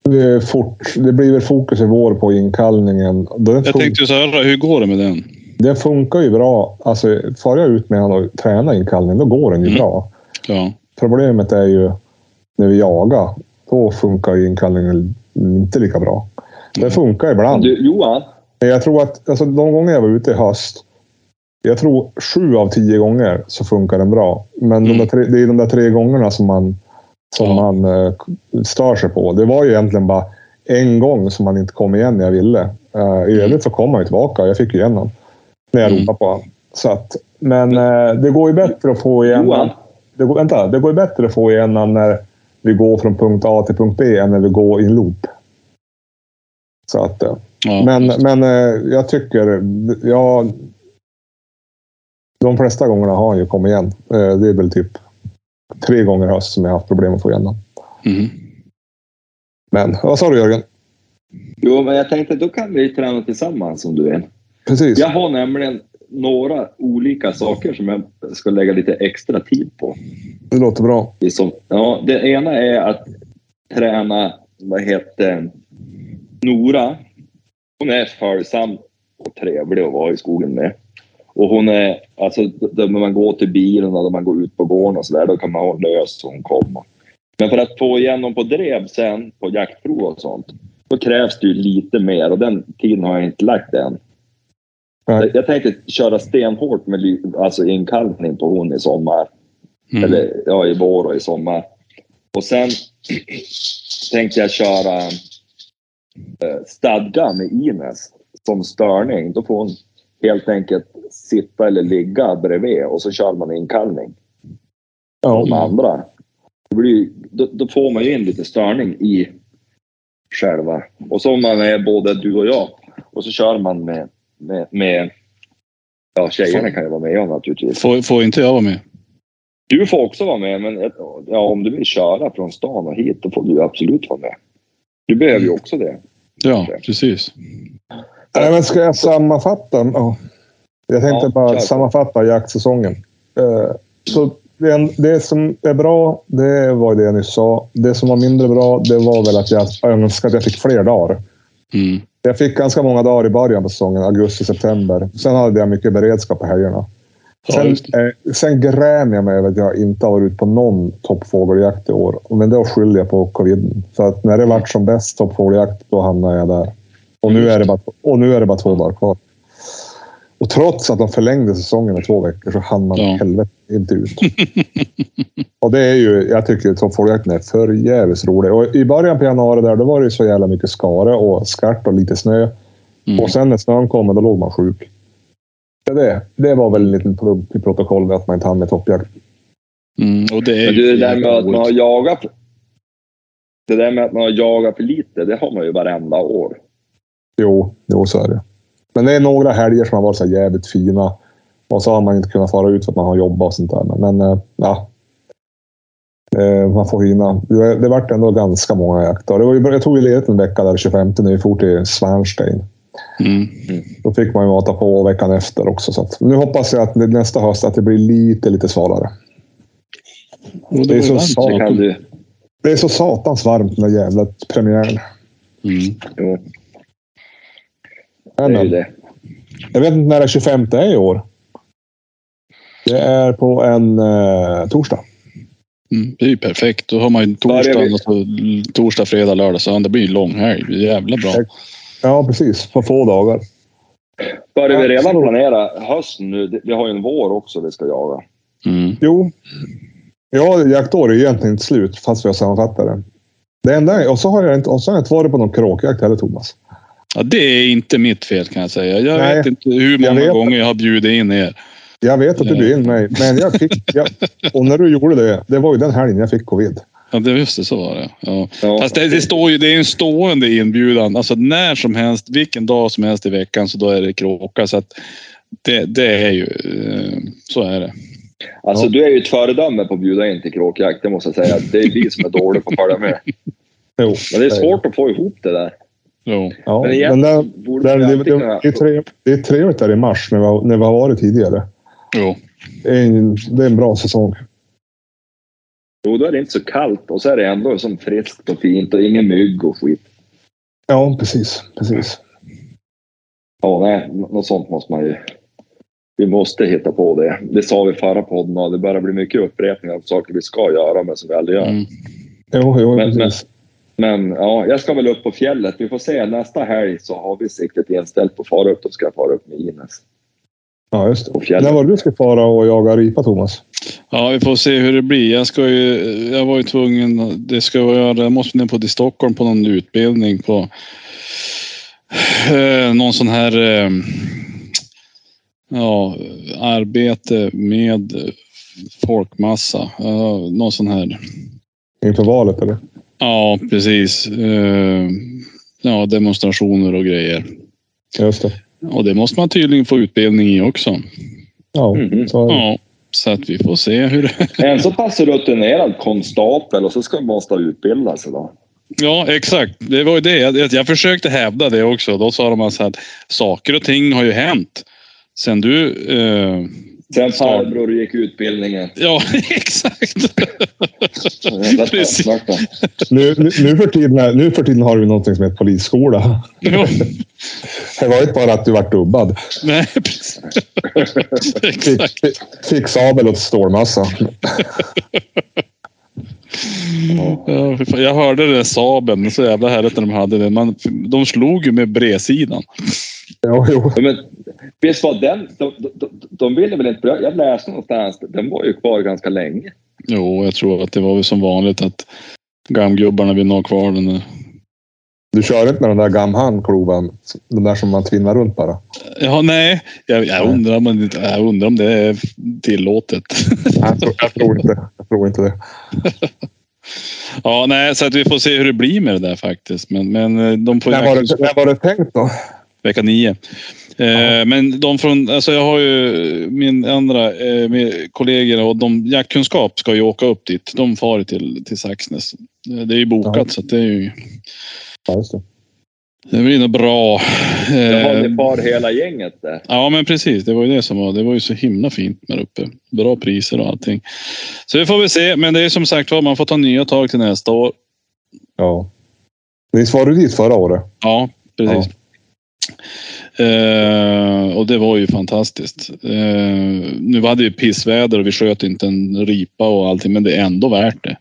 vi fort, det blir väl fokus i vår på inkallningen. Den
Jag
fun-
tänkte ju så här, hur går det med den?
det funkar ju bra. Alltså, far jag ut med honom och tränar inkallning, då går den ju
Mm.
bra.
Ja.
Problemet är ju när vi jagar. Då funkar ju inkallningen inte lika bra. Den
Mm.
funkar ibland.
Du, Johan,
Men jag tror att alltså, de gånger jag var ute i höst. Jag tror sju av tio gånger så funkar den bra. Men de
Mm.
där tre, det är de där tre gångerna som man, som
Ja.
man eh, stör sig på. Det var ju egentligen bara en gång som han inte kom igen när jag ville. Eh, I övrigt så kom han ju tillbaka. Jag fick ju igen honom. När jag
Mm.
ropade på honom. Så att, men eh, det går ju bättre att få igen
Johan.
honom. Det går, vänta, det går ju bättre att få igen honom när vi går från punkt A till punkt B än när vi går i en loop. Så att... Eh,
ja.
men, men eh, jag tycker... Ja, de flesta gångerna har han ju kommit igen. Eh, Det är väl typ tre gånger i höst som jag har haft problem att få igen den.
Mm.
Men vad sa du Jörgen?
jo, men jag tänkte då kan vi träna tillsammans om du vill.
Precis.
Jag har nämligen några olika saker som jag ska lägga lite extra tid på.
Det låter bra.
Det, är som, ja, det ena är att träna, vad heter Nora. Hon är följsam och trevlig att vara i skogen med. Och hon är, alltså när man går till bilen och när man går ut på gården och sådär, då kan man ha löst så hon kommer. Men för att få igenom på drev sen, på jaktprov och sånt, då krävs det ju lite mer och den tiden har jag inte lagt än.
Nej.
Jag tänkte köra stenhårt med ly- alltså inkallning på hon i sommar.
Mm.
Eller ja, i vår och i sommar. Och sen tänkte jag köra eh, stadga med Ines som störning. Då får hon helt enkelt sitta eller ligga bredvid och så kör man inkallning
Ja.
på de andra. Det blir, ju- då, då får man ju in lite störning i själva. Och så om man är både du och jag och så kör man med, med, med ja tjejerna kan ju vara med om naturligtvis.
Får, får inte jag vara med?
Du får också vara med, men eh, ja, om du vill köra från stan och hit, då får du absolut vara med. Du behöver
Mm.
ju också det.
Ja, precis.
Nej, men ska jag sammanfatta? Ja. Jag tänkte
Ja,
bara
kör.
sammanfatta jaktsäsongen. Eh, Så det, en- det som är bra, det var ju det jag nyss sa. Det som var mindre bra, det var väl att jag önskade att jag fick fler dagar.
Mm.
Jag fick ganska många dagar i början på säsongen, augusti, september. Sen hade jag mycket beredskap på helgerna. Sen, eh, sen grämer jag mig över att jag inte har varit ute på någon toppfågeljakt i år. Men då skyller jag på coviden. För att när det vart som bäst toppfågeljakt, då hamnade jag där. Och nu,
Just
är det bara, och nu är det bara två dagar kvar. Och trots att de förlängde säsongen med två veckor så hann man
Ja.
helvete inte ut. och det är ju, jag tycker toppfågeljakten är för jävligt rolig. Och i början på januari där, då var det ju så jävla mycket skare och skart och lite snö.
Mm.
Och sen när snön kom, då låg man sjuk. Det, det, det var väl en liten plump i protokollet att man inte hann med toppjakt.
Mm, och det är
Men
ju
du, det där med att man har
roligt.
jagat... Det där med att man har jagat för lite, det har man ju varenda år.
Jo, jo, så är det. Men det är några helger som har varit så här jävligt fina. Och så har man inte kunnat fara ut för att man har jobbat och sånt där. Men, Men eh, ja. Eh, man får hinna. Det, det vart ändå ganska många jakter. Det var ju, jag tog ju ledigt en vecka där 25 när vi for till Svärnstein.
Mm.
Då fick man ju mata på veckan efter också. Så att, nu hoppas jag att det- nästa höst att det blir lite, lite svalare.
Och
Det är
var ju
så
varmt
sant.
Det
också.
kan du...
Det är så satans varmt den där jävla premiären.
Mm.
Jo, det är ju
Amen.
det.
Jag vet inte när det 25 är i år. Det är på en eh, torsdag.
Mm. Det är ju perfekt. Då har man ju
Ja, det är
torsdag,
vi.
alltså, torsdag, fredag, lördag, söndag. Det blir ju en lång helg. Jävla bra.
Exakt. Ja, precis. På få dagar.
Börjar vi
Ja,
redan
så-
planera hösten nu? Det- Vi har ju en vår också vi ska jaga.
Mm.
Jo. Ja, jaktår är egentligen inte slut, fast vi har sammanfattat det. Det enda, och så har jag inte, och så har jag inte varit på någon kråkjakt heller, Thomas.
Ja, det är inte mitt fel kan jag säga. Jag
Nej.
vet inte hur många
vet.
gånger jag har bjudit in er.
Jag vet att du
Nej.
bjöd in mig, men jag fick... Jag, och när du gjorde det, det var ju den helgen jag fick covid.
Ja, det just det. Så var det. Ja.
Ja.
Fast det, det, står ju, det är en stående inbjudan. Alltså när som helst, vilken dag som helst i veckan så då är det kråka. Så att det, det är ju... eh, Så är det.
Alltså
Ja.
du är ju ett föredöme på att bjuda in till kråkjakt, det måste jag säga. Det är vi som är dåliga på att följa med.
Jo,
Men det är svårt att få ihop det där.
Jo.
Ja,
Men
men
egentligen
där,
borde
där,
vi
det, det,
alltid kunna-
det, är trevligt, det är trevligt där i mars, när vi har, när vi har varit tidigare.
jo.
Det är en, det är en bra säsong.
Jo, då är det inte så kallt och så är det ändå som friskt och fint och ingen mygg och skit.
Ja, precis. precis.
Ja, nej, något sånt måste man ju... Vi måste hitta på det. Det sa vi i förra podden och det börjar bli mycket upprepningar av saker vi ska göra men som vi aldrig gör.
Mm.
Jo, jo
Men-
precis.
Men ja, jag ska väl upp på fjället. Vi får se. Nästa helg så har vi siktet inställt på att fara upp. Då ska jag fara upp med Ines
Ja, just det.
på fjället.
När var det du ska fara och jaga ripa, Thomas?
Ja, vi får se hur det blir. Jag, ska ju, jag var ju tvungen, det ska jag göra, jag måste ner på till Stockholm på någon utbildning på eh, någon sån här eh, ja, arbete med folkmassa. Eh, någon sån här,
Inför valet, eller?
ja precis. Eh, ja, demonstrationer och grejer.
Just det.
Och det måste man tydligen få utbildning i också.
Ja,
Mhm.
så är det.
Mm-hmm. Ja, så att vi får se hur det...
En så pass rutinerad konstapel och så ska man måste utbilda sig då.
Ja, exakt. Det var ju det. Jag, jag försökte hävda det också. Då sa de alltså att saker och ting har ju hänt. Sen du... Eh,
Sen farbror gick utbildningen.
ja, exakt.
Jävla
Precis.
snacka.
Nu, nu, nu, för tiden, nu för tiden har vi någonting som heter polisskola.
ja,
Det var inte bara att du vart dubbad.
nej, precis.
Fick,
exakt.
fick sabel och stålmassa.
Ja, fy fan. jag hörde det där Saben. Så jävla härligt när de hade det. Man, de slog ju med bredsidan.
Ja, jo.
Ja, Men, visst var den... De, de, de, de ville väl inte... Jag läste någonstans. Den var ju kvar ganska länge.
Jo, jag tror att det var väl som vanligt att gamgubbarna vill ha kvar den. där.
Du kör inte med den där gamhamnklovan. Den där som man tvinnar runt bara.
Ja, nej. Jag, jag, undrar, om det- jag undrar om det är tillåtet.
Nej, Jag tror, jag tror, inte, jag tror inte det.
Ja, nej, så att vi får se hur det blir med det där faktiskt. Men, men eh, de får ju
När var
verkligen-
det, när var det tänkt då?
vecka nio. Eh, men de från, alltså jag har ju min andra eh, med kollegor och de jaktkunskap ska ju åka upp dit. De far till, till Saxnäs. Eh, Det är ju bokat
Ja.
så att det är ju,
Ja, just det.
det blir nog bra.
Jaha,
Eh,
ni far hela gänget där.
Ja, men precis. Det var ju det som var. Det var ju så himla fint där uppe. Bra priser och allting. Så vi får väl se. Men det är som sagt var, man får ta nya tag till nästa år.
Ja. Visst var du dit förra året?
Ja, precis. Eh, och det var ju fantastiskt. Eh, nu hade vi pissväder och vi sköt inte en ripa och allting, men det är ändå värt det.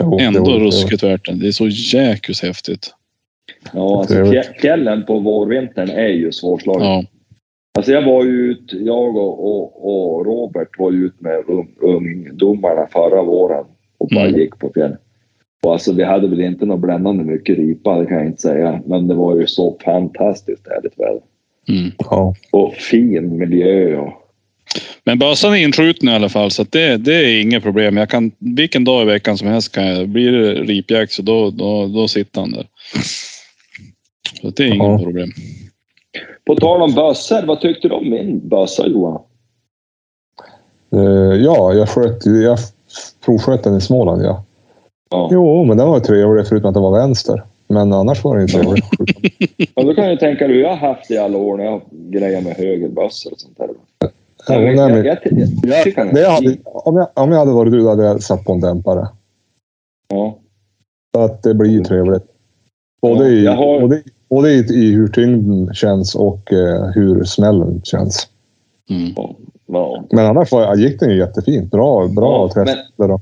Jo, det
Ändå
var-
ruskigt värt det. Det är så jäkligt häftigt.
Ja, alltså,
Trevligt.
fjä- fjällen på vårvintern är ju svårslagen.
Ja,
Alltså jag var ju ut, jag och, och, och Robert var ju ut med ung- ungdomarna förra våren och bara
Mm.
gick på fjällen. Och alltså vi hade väl inte något bländande mycket ripa, det kan jag inte säga. Men det var ju så fantastiskt härligt väder.
mm.
Ja.
Och fin miljö och...
Men bössan är inskjuten i alla fall, så att det, det är inget problem. Jag kan, vilken dag i veckan som helst kan jag. Blir det ripjakt så då, då, då sitter han där. Så att det är inget
Ja.
problem.
På tal om bössor, vad tyckte du om min bössa Johan?
Eh, ja, jag, sköt, ju- jag provsköt den i Småland. Ja.
Ja.
Jo, men den var ju trevlig förutom att den var vänster. Men annars var det inte trevligt.
Ja, då kan jag tänka dig hur jag har haft det i alla år när jag har grejat med högerbössor och sånt där.
Ja, men
jag,
nej,
jag,
men-
jag, jag tycker han
det jag
är
hade,
fin.
om, jag, om jag hade varit du då hade jag satt på en dämpare.
Ja.
Så att det blir ju trevligt.
Ja,
Både, i,
Mm. jag har-
både, både i, i hur tyngden känns och eh, hur smällen känns.
Mm.
Ja.
Men annars var, gick den ju jättefint. Bra, bra
Ja,
träff. där då.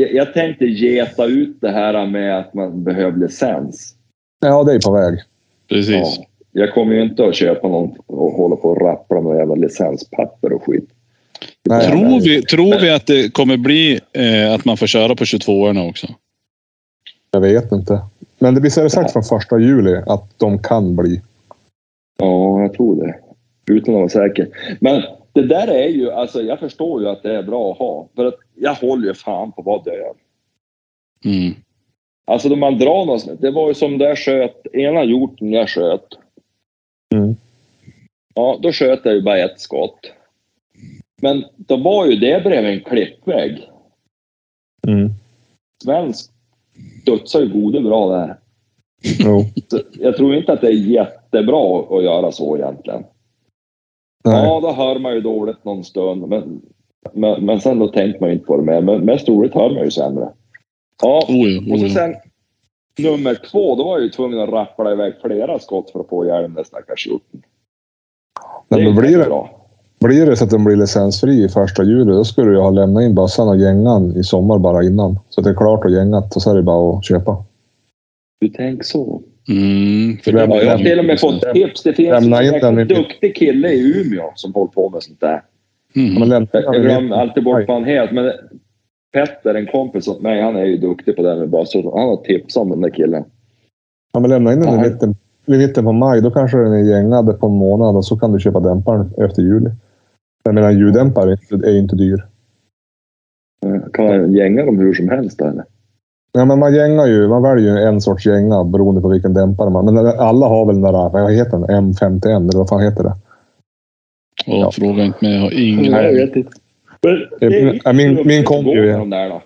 Jag, jag tänkte geta ut det här med att man behöver licens.
Ja, det är på väg.
Precis.
Ja. Jag kommer ju inte att köpa någon och hålla på och rappla med jävla licenspapper och skit.
Nej,
Tror,
nej.
vi, tror vi att det kommer bli eh, att man får köra på 22orna också?
Jag vet inte. Men det blir säkert sagt från första juli att de kan bli.
Ja, jag tror det. Utan att vara säker. Men det där är ju, alltså jag förstår ju att det är bra att ha. För att jag håller ju fan på vad jag gör.
Mm.
Alltså när man drar någonstans. Det var ju som där sköt, ena hjorten jag sköt.
Mm.
Ja, då sköt jag ju bara ett skott. Men då var ju det bredvid en klippvägg.
Mm.
svensk studsar ju gode bra där.
Jo.
Så jag tror inte att det är jättebra att göra så egentligen.
Nej.
Ja, då hör man ju dåligt någon stund. Men, men, men sen då tänker man ju inte på det mer. Men mest roligt hör man ju sämre. Ja,
Oh, ja,
och
oh,
Mm.
så
ja.
sen nummer två, då var jag ju tvungen att rappla iväg flera skott för att få ihjäl den där stackars hjorten.
Nej,
är
men
inte
blir, det,
bra.
blir det så att den blir licensfri i första juli, då skulle du ju ha lämnat in bössan och gängan i sommar bara innan. Så att det är klart och gängat och så är det bara att köpa.
Du tänker så.
Mm, för
Ja,
det-
Ja, jag har till och med fått
Lämna-
tips. Det finns en
lämna in
jäkla
den i-
duktig kille i Umeå som håller på med sånt där.
Mm.
Men lämna-
Jag, jag glömmer alltid bort vad han heter. Men Petter, en kompis åt mig, han är ju duktig på det här med basor. Han har tips om den där killen.
Ja, men lämna in den
Ja.
i mitten, i mitten på maj. Då kanske den är gängad på en månad och så kan du köpa dämparen efter juli. Jag menar, en ljuddämpare är inte- är inte dyr.
Kan man gänga dem hur som helst eller?
Ja, men man gängar ju. Man väljer ju en sorts gänga beroende på vilken dämpare man Men alla har väl den där, vad heter den? M51 eller vad fan heter det?
Och
Ja.
Fråga inte mig. Jag har ingen
Nej, Mm, jag
aning.
vet inte. Men
Ja,
det är
min-
inte
min-
så
min
att
kom
gå
ju
med
igen.
de där då.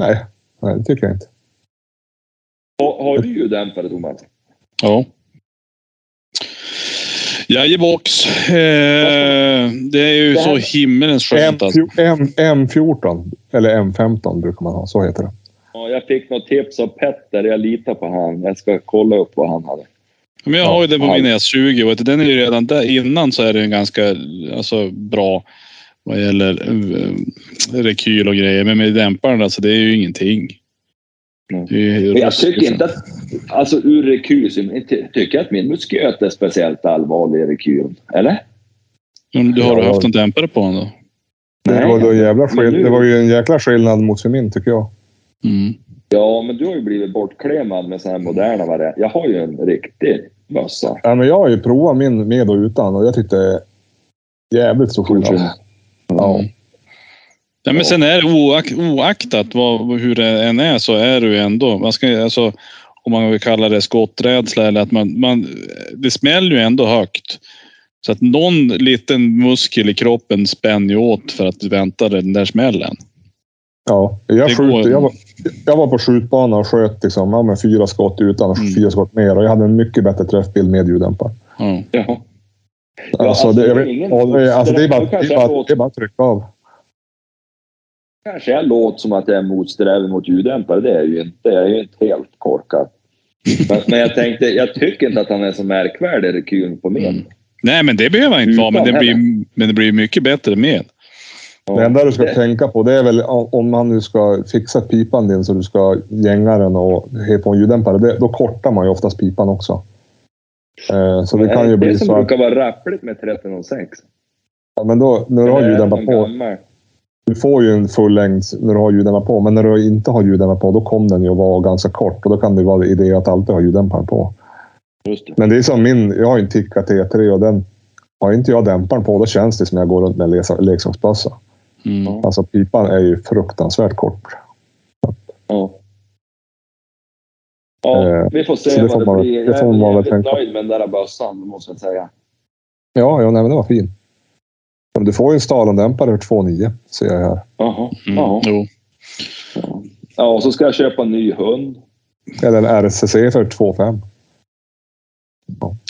Nej, nej det tycker jag inte.
Har, har du ju dämpare Thomas?
Ja. Jajebox. Eh, det är ju
Det här-
så himmelens skönt. Alltså.
M, M, M14 eller M15 brukar man ha. Så heter det.
Ja, jag fick något tips av Petter. Jag litar på han. Jag ska kolla upp vad han hade.
Men jag har ju den på
Ja.
min S20 och den är ju redan där innan så är den ganska alltså, bra vad gäller eh, rekyl och grejer. Men med dämparen alltså, det är ju ingenting.
Nej.
Det är ju
Men jag
ruskigt
tycker
skönt.
inte att... Alltså ur rekyl ty- tycker jag att min musköt är speciellt allvarlig i rekylen. Eller?
Men Mm, Du har
Ja.
haft en dämpare på den då?
Det var, då en jävla
Men
skill-
nu-
det var ju en jäkla skillnad mot för min tycker jag.
Mm.
Ja, men du har ju blivit bortklemad med sådana här moderna varianter. Jag har ju en riktig mössa.
Ja, men jag har ju provat min med och utan och jag tyckte jävligt stor skillnad. Ja.
Ja, men sen är det oak, oaktat vad, hur det än är så är det ju ändå. Man ska, ju- alltså, om man vill kalla det skotträdsla eller att man, man... Det smäller ju ändå högt. Så att någon liten muskel i kroppen spänner ju åt för att vänta den där smällen.
Ja,
Det
jag,
går-
skjuter, jag, var, jag var på skjutbanan och sköt liksom, ja, men fyra skott utan och
Mm.
fyra skott mer. Och jag hade en mycket bättre träffbild med ljuddämpare.
Ja.
Ja.
Alltså,
Ja, alltså,
det,
det
jag
är
vet-
ingen-
ja, det, är- alltså, det, är bara,
Då kanske
det,
jag
är bara,
låter-
det är bara att trycka av.
Kanske jag låter som att jag är motsträvig mot ljuddämpare. Det är jag ju inte. Jag är ju inte helt korkad. Men, men jag tänkte, jag tycker inte att han är så märkvärdig rekyn på min.
Mm. Nej, men det behöver han inte vara. Men det, blir, men det blir mycket bättre med.
Det enda du ska tänka på det är väl om man nu ska fixa pipan din så du ska gänga den och heta på en ljuddämpare. Det, då kortar man ju oftast pipan också. Eh, så det kan ju
det
bli
som
så att...
brukar vara rappligt med 1306.
ja, Men då, när du har
Eller är det
ljuddämpare
någon
på.
Eh, gammal?
Du får ju en full längd när du har ljuddämpare på. Men när du inte har ljuddämpare på, då kommer den ju att vara ganska kort. Och då kan det ju vara idé att alltid ha ljuddämparen på.
Just det.
Men det är som min. Jag har ju en Tikka T3 och den... Har inte jag dämparen på, då känns det som jag går runt med en lesa- leksaksbössa.
Mm.
Alltså pipan är ju fruktansvärt kort.
Ja. Ja,
Eh,
vi får se
så det får
vad det
man-
blir.
det får man
jag
väl
är jävligt
tänka på.
nöjd med den där bössan, måste jag säga.
Ja, ja nej, men det var fin. Men Du får ju en stalondämpare för 2,9 ser jag här.
Jaha.
Mm.
Ja.
Jo.
ja, och så ska jag köpa en ny hund.
Eller en RCC för 2,5.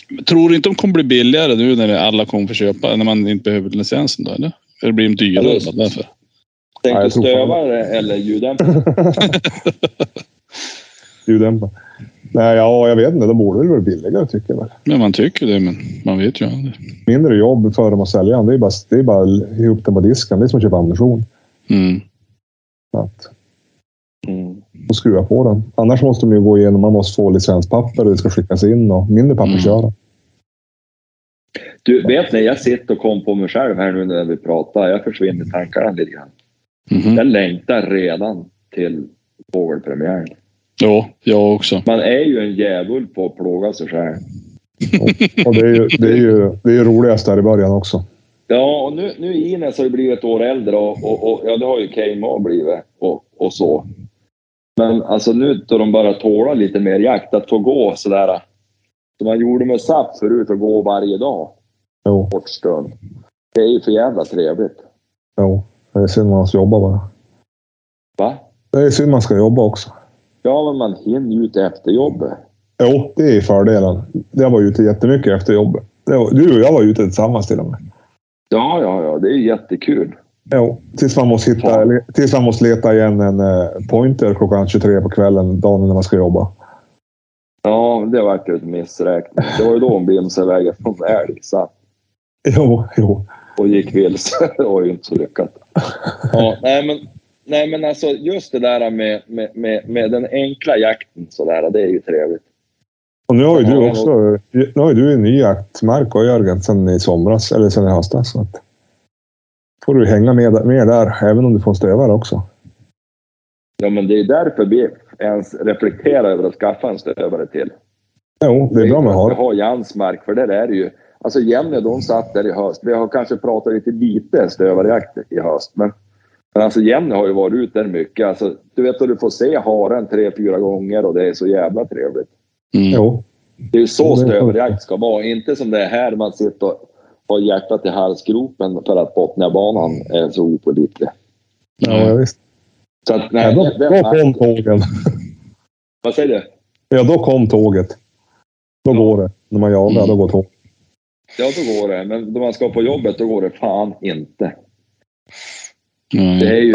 Men Tror du inte de kommer bli billigare nu när alla kommer få köpa? När man inte behöver licensen då eller? Eller blir de dyrare
Ja, det-
bara därför?
Tänk
Ja,
ja,
jag tror fan-
stövare eller ljuddämpare.
Ljuddämpare. Nej, ja, jag vet inte. De borde väl vara billigare tycker jag. väl.
Men man tycker det, men man vet ju aldrig.
Mindre jobb för dem att sälja den. Det är bara, det är bara att ihop den på disken. Det är som att köpa ammunition.
Mm.
Att,
Mm.
och skruva på den. Annars måste man ju gå igenom. Man måste få licenspapper och det ska skickas in och mindre papper
Mm.
köra.
Du, vet ni, jag sitter och kom på mig själv här nu när vi pratar. Jag försvinner i tankarna lite grann.
Mhm.
Jag längtar redan till fågelpremiären.
Ja, jag också.
Man är ju en djävul på att plåga sig själv.
Och det är ju, det är ju, det är ju roligast där i början också.
Ja, och nu, nu är Ines har ju blivit ett år äldre och, och, och ja, det har ju KMA blivit och, och så. Men alltså nu då de börjar tåla lite mer jakt, att få gå sådär som man gjorde med SAP förut och gå varje dag,
Jo,
kort stund. Det är ju för jävla trevligt.
jo. Det är synd man måste jobba bara.
Va?
Det är synd man ska jobba också.
Ja, men man hinner ju ut efter jobbet.
Jo, det är fördelen. Jag var ute jättemycket efter jobbet. Det var, du och jag var ute tillsammans till och med.
Ja, ja, ja, det är ju jättekul.
Jo, tills man måste, hitta, le- tills man måste leta igen en eh, pointer klockan 23 på kvällen, dagen när man ska jobba.
Ja, det vart ju ett missräkning. Det var ju då hon bimsade iväg från älg så,
Jo, jo.
och gick vilse. Det var ju inte så lyckat. Ja, nej, men, nej, men alltså just det där med, med, med, med den enkla jakten sådär, det är ju trevligt.
Och nu har ju
Ja,
du
men-
också nu har ju du en ny jaktmark och Jörgen sen i somras, eller sen i höstas. Så att får du hänga med, med där, även om du får en stövare också.
Ja, men det är därför vi ens reflekterar över att skaffa en stövare till.
Jo, det är bra med
har.
har.
har Jans mark, för där är det ju. Alltså Jenny, de satt där i höst. Vi har kanske pratat lite lite stövarjakt i höst, men, men alltså Jenny har ju varit ute där mycket. Alltså, du vet att du får se haren tre, fyra gånger och det är så jävla trevligt.
Mm.
Jo,
Det är ju så
Det är
stövarjakt ska vara, inte som det är här man sitter och har hjärtat i halsgropen för att Botniabanan är så opålitlig.
ja, ja, visst.
Så att,
Ja,
Mm. nej,
då,
den- den
då
marken-
kom tågen.
vad säger du?
Ja, då kom tåget. Då
Ja.
går det. När man jagar,
Mm.
då går tåget.
Ja, då går det. Men då man ska på jobbet, då går det fan inte.
Nej.
Det är ju...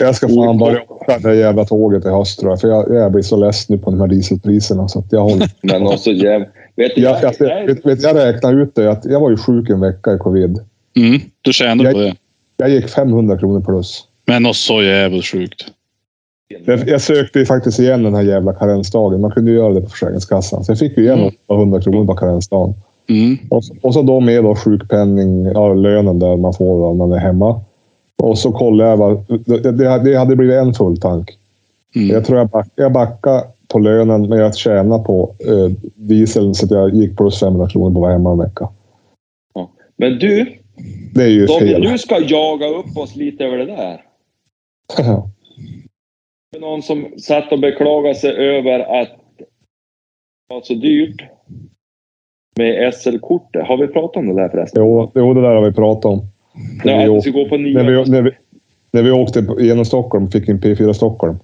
Jag ska fan börja åka det jävla tåget i höst tror jag. För jag, jag blir så less nu på de här dieselpriserna. Så att jag, håller,
Men också jävla... Vet du,
Mm. jag, jag,
det är-
jag, vet, vet, jag räknade ut det. Att jag var ju sjuk en vecka i covid.
Mm. Du tjänar på det.
Jag gick 500 kronor plus.
Men något så jävligt sjukt.
Jag, jag sökte ju faktiskt igen den här jävla karensdagen. Man kunde ju göra det på Försäkringskassan. Så jag fick ju igen
Mm.
800 kronor på karensdagen.
Mm.
Och, så- och så då med då sjukpenning, ja, lönen där man får då när man är hemma. Och så kollade jag. Vad, det, det, det hade blivit en full tank.
Mm.
Jag tror jag, back, jag backade på lönen, men jag tjänade på eh, dieseln så att jag gick plus 500 kronor på att vara hemma en vecka.
Men du,
Det är ju
David,
fel.
du ska jaga upp oss lite över det där. Det var någon som satt och beklagade sig över att det var så dyrt med SL-kortet. Har vi pratat om det där förresten?
jo, jo, det där har vi pratat om.
Nej,
vi
att
åkte-
vi ska gå på
När
nio.
vi, när vi, när vi åkte genom Stockholm fick en P4 Stockholm.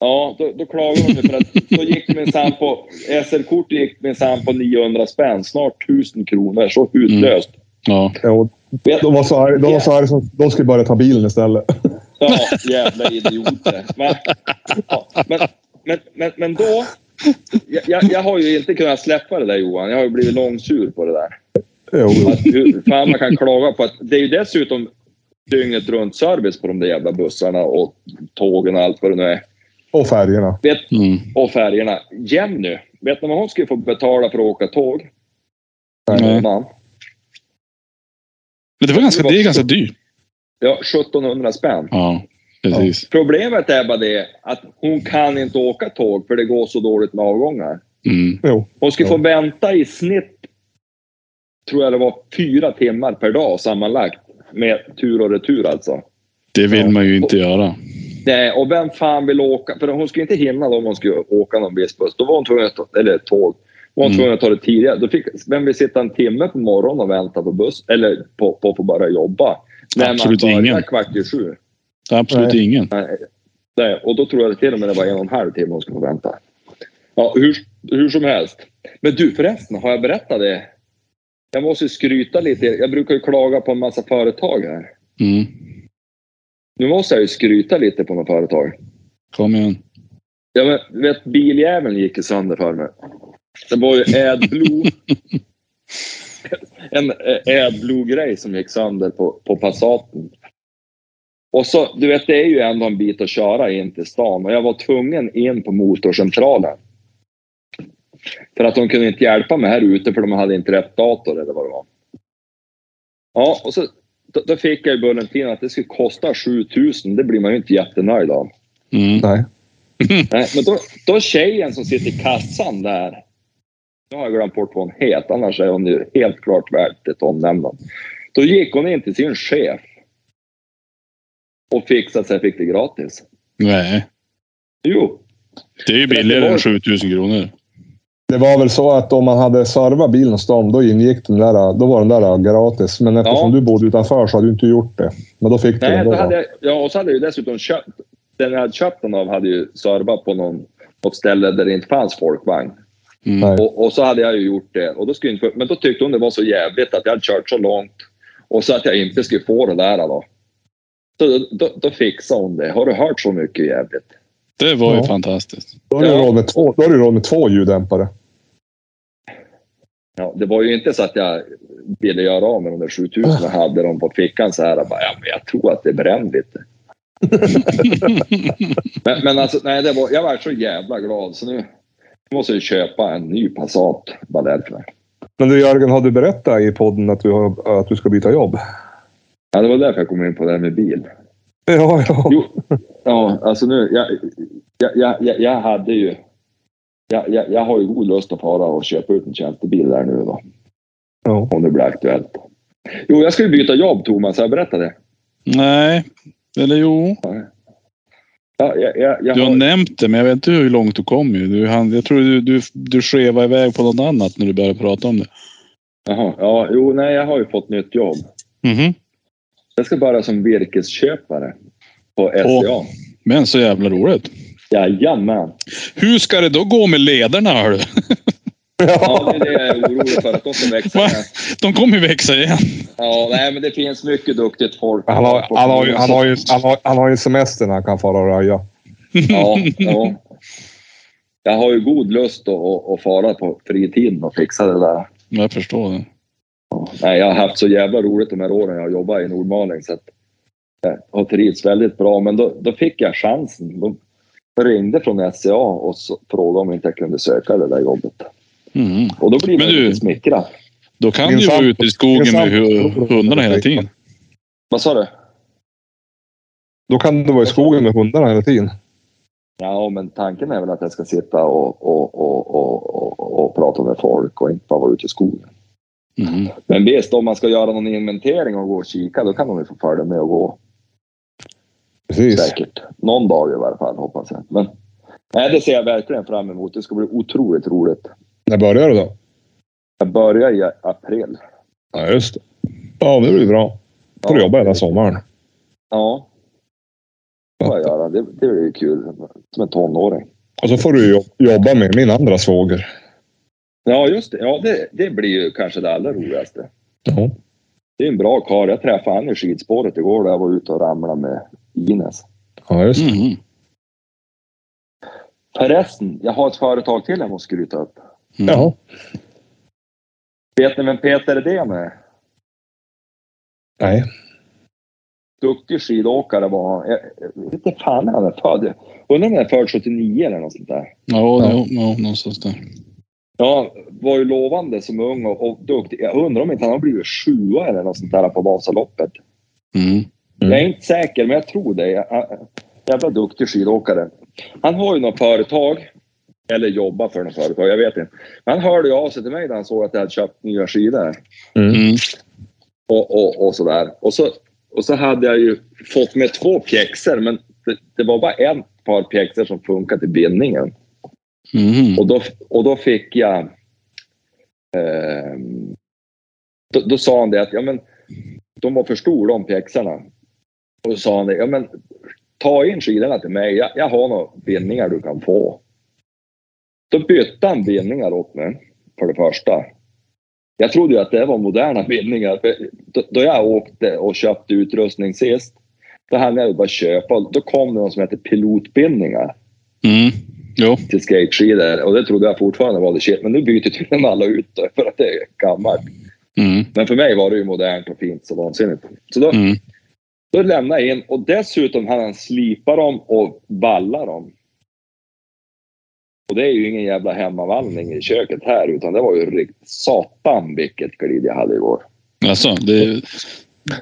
Ja, då, då klagade de ju för att då gick minsann på... SL-kortet gick minsann på 900 spänn. Snart 1000 kronor. Så utlöst.
Ja.
Jo,
Vet-
de var så arga. De, var så arga som, de skulle börja ta bilen istället.
Ja, jävla idioter. Men, ja, men, men, men, men då, jag, jag, jag har ju inte kunnat släppa det där Johan. Jag har ju blivit långsur på det där.
Jo, jo.
Att, hur fan man kan klaga på att det är ju dessutom dygnet runt service på de där jävla bussarna och tågen och allt vad det nu är.
Och färgerna.
Vet,
Mm.
och färgerna. Jenny, vet ni vad hon skulle få betala för att åka tåg?
Nej.
Man.
Men det, var ganska, det är ganska dyrt.
Ja, 1700 spänn.
Ja, precis.
Problemet är bara det att hon kan inte åka tåg för det går så dåligt med avgångar.
Mm.
Jo.
Hon skulle
Ja.
få vänta i snitt, tror jag det var, fyra timmar per dag sammanlagt. Med tur och retur alltså.
Det vill man ju inte göra.
Nej, och vem fan vill åka? För hon skulle inte hinna då om hon skulle åka någon buss. Då var hon tvungen att ta, eller tåg. Då var hon
Mm.
tvungen att ta det tidigare. Då fick, vem vill sitta en timme på morgonen och vänta på buss? Eller på, på, på bara jobba? När
Absolut
man börjar
ingen.
kvart i sju.
Det är absolut
Nej.
ingen.
Nej, och då tror jag till och med det var en och en halv timme hon skulle få vänta. Ja, hur, hur som helst. Men du förresten, har jag berättat det? Jag måste ju skryta lite. Jag brukar ju klaga på en massa företag här.
Mm.
Nu måste jag ju skryta lite på något företag.
Kom igen.
Jag vet- vet, biljäveln gick ju sönder för mig. Det var ju AdBlue. en eh, AdBlue-grej som gick sönder på, på Passaten. Och så, du vet, det är ju ändå en bit att köra in till stan och jag var tvungen in på motorcentralen. För att de kunde inte hjälpa mig här ute för de hade inte rätt dator eller vad det var. Ja, och så då, då fick jag ju bulletinen att det skulle kosta 7000. Det blir man ju inte jättenöjd av.
Mm.
Nej.
Nej, men då, då tjejen som sitter i kassan där. Nu har jag glömt bort vad hon heter, annars är hon ju helt klart värd ett omnämnande. Då gick hon in till sin chef. Och fixade sig, fick det gratis.
Nej.
Jo,
Det är ju billigare än 7000 kronor.
Det var väl så att om man hade servat bilen hos dem, då ingick den där, då var den där gratis. Men eftersom
Ja.
du bodde utanför så hade du inte gjort det. Men då fick du
nej,
den
då
då.
hade jag, ja, och så hade jag ju dessutom köpt. Den jag hade köpt den av hade ju servat på någon, något ställe där det inte fanns folkvagn.
Mm.
Och, och så hade jag ju gjort det. Och då skulle jag inte, få- men då tyckte hon det var så jävligt att jag hade kört så långt. Och så att jag inte skulle få det där då. Så då, då, då fixade hon det. Har du hört så mycket jävligt?
Det var ju
Ja.
fantastiskt.
Då har du
Ja.
råd med två, då har du råd med två ljuddämpare.
Ja, det var ju inte så att jag ville göra av med de där 7000 jag hade dem på fickan så här. Jag, bara, ja, men jag tror att det brände lite. men, men alltså, nej, det var, jag var så jävla glad så nu måste jag köpa en ny Passat. Bara därför.
Men du Jörgen, har du berättat i podden att du, har, att du ska byta jobb?
Ja, det var därför jag kom in på det här med bil.
Ja, ja.
Jo, ja, alltså nu, jag, jag, jag, jag, jag hade ju... Jag, jag, jag har ju god lust att fara och köpa ut en tjänstebil där nu då,
ja.
om det blir aktuellt. Jo, jag ska ju byta jobb Thomas, har jag berättat det?
Nej. Eller jo.
Ja, jag, jag, jag
Du har
har,
nämnt det, men jag vet inte hur långt du kom. Ju. Du, hann- jag tror du, du, du skevade iväg på något annat när du började prata om det.
jaha, ja, jo, nej, jag har ju fått nytt jobb.
Mhm.
Jag ska bara som virkesköpare på SCA.
Åh. Men så jävla roligt.
Jajamän!
Hur ska det då gå med lederna? Hörru?
Ja, det är det jag är orolig för, att de ska växa.
Va? De kommer ju växa igen.
Ja, nej, men det finns mycket duktigt folk.
Han har, han, har, ju- han, har, ju- han, har, han har ju semester när han kan fara och röja.
Ja, ja. Jag har ju god lust att, att, att fara på fritiden och fixa det där.
Jag förstår det.
Ja. Nej, jag har haft så jävla roligt de här åren jag har jobbat i Nordmaling. Så att jag har trivts väldigt bra. Men då, då fick jag chansen. De ringde från SCA och så frågade om inte jag kunde söka det där jobbet.
Mhm.
Och då blir man
Men du-
lite smickrad.
Då kan
Min
du ju vara
sambo-
ute i skogen
min
med hu-
sambo-
hundarna hela tiden.
Vad sa du?
Då kan du vara i skogen med hundarna hela tiden.
Ja, men tanken är väl att jag ska sitta och, och, och, och, och, och prata med folk och inte bara vara ute i skogen.
Mhm.
Men visst, om man ska göra någon inventering och gå och kika, då kan de ju få följa med och gå
Precis.
säkert. Någon dag i varje fall, hoppas jag. Men, nej, det ser jag verkligen fram emot. Det ska bli otroligt roligt.
När börjar du då?
Jag börjar i april.
Ja, just det. Ja, det blir bra. Då får du jobba hela sommaren.
Ja, det får jag göra. Det, det blir ju kul. Som en tonåring.
Och så får du jo- jobba med min andra svåger.
Ja, just det. Ja, det, det blir ju kanske det allra roligaste.
Ja.
Det är en bra karl. Jag träffade han i skidspåret igår då jag var ute och ramlade med Ines.
Ja, just det.
Mhm.
Förresten, jag har ett företag till jag måste skryta upp.
Mm.
Jaha.
Vet ni vem Peter Edén är?
Nej.
Duktig skidåkare var han. Jag jag vet inte fan när han är född. Undrar om han är född 79 eller något sånt där.
Ja, ja. ja, någonstans där.
Ja, var ju lovande som ung och, och duktig. Jag undrar om inte han har blivit sjua eller något sånt där på Vasaloppet.
Mm.
Mm.
Jag är inte säker, men jag tror det. Jag- jag- Jävla duktig skidåkare. Han har ju något företag. Eller jobbar för något företag, jag vet inte. Men han hörde ju av sig till mig när han såg att jag hade köpt nya skidor.
Mm.
och, och, och sådär. Och så, och så hade jag ju fått med två pjäxor men det, det var bara en par pjäxor som funkade till bindningen.
Mm.
Och då, och då fick jag... ehm, då, då sa han det att ja, men, de var för stora de pjäxorna. Och så sa han det, ja men ta in skidorna till mig, jag, jag har några bindningar du kan få. Då bytte han bindningar åt mig, för det första. Jag trodde ju att det var moderna bindningar. För då, då jag åkte och köpte utrustning sist, då hann jag ju bara köpa. Då kom det någon som hette pilotbindningar
Mm. Jo.
till skateskidor och det trodde jag fortfarande var det shit. Men nu byter tydligen alla ut det för att det är gammalt.
Mm.
Men för mig var det ju modernt och fint så vansinnigt. Så då,
Mm.
då lämnade jag in och dessutom hann han slipa dem och valla dem. Och det är ju ingen jävla hemmavallning i köket här utan det var ju riktigt satan vilket glid jag hade igår.
Alltså, det...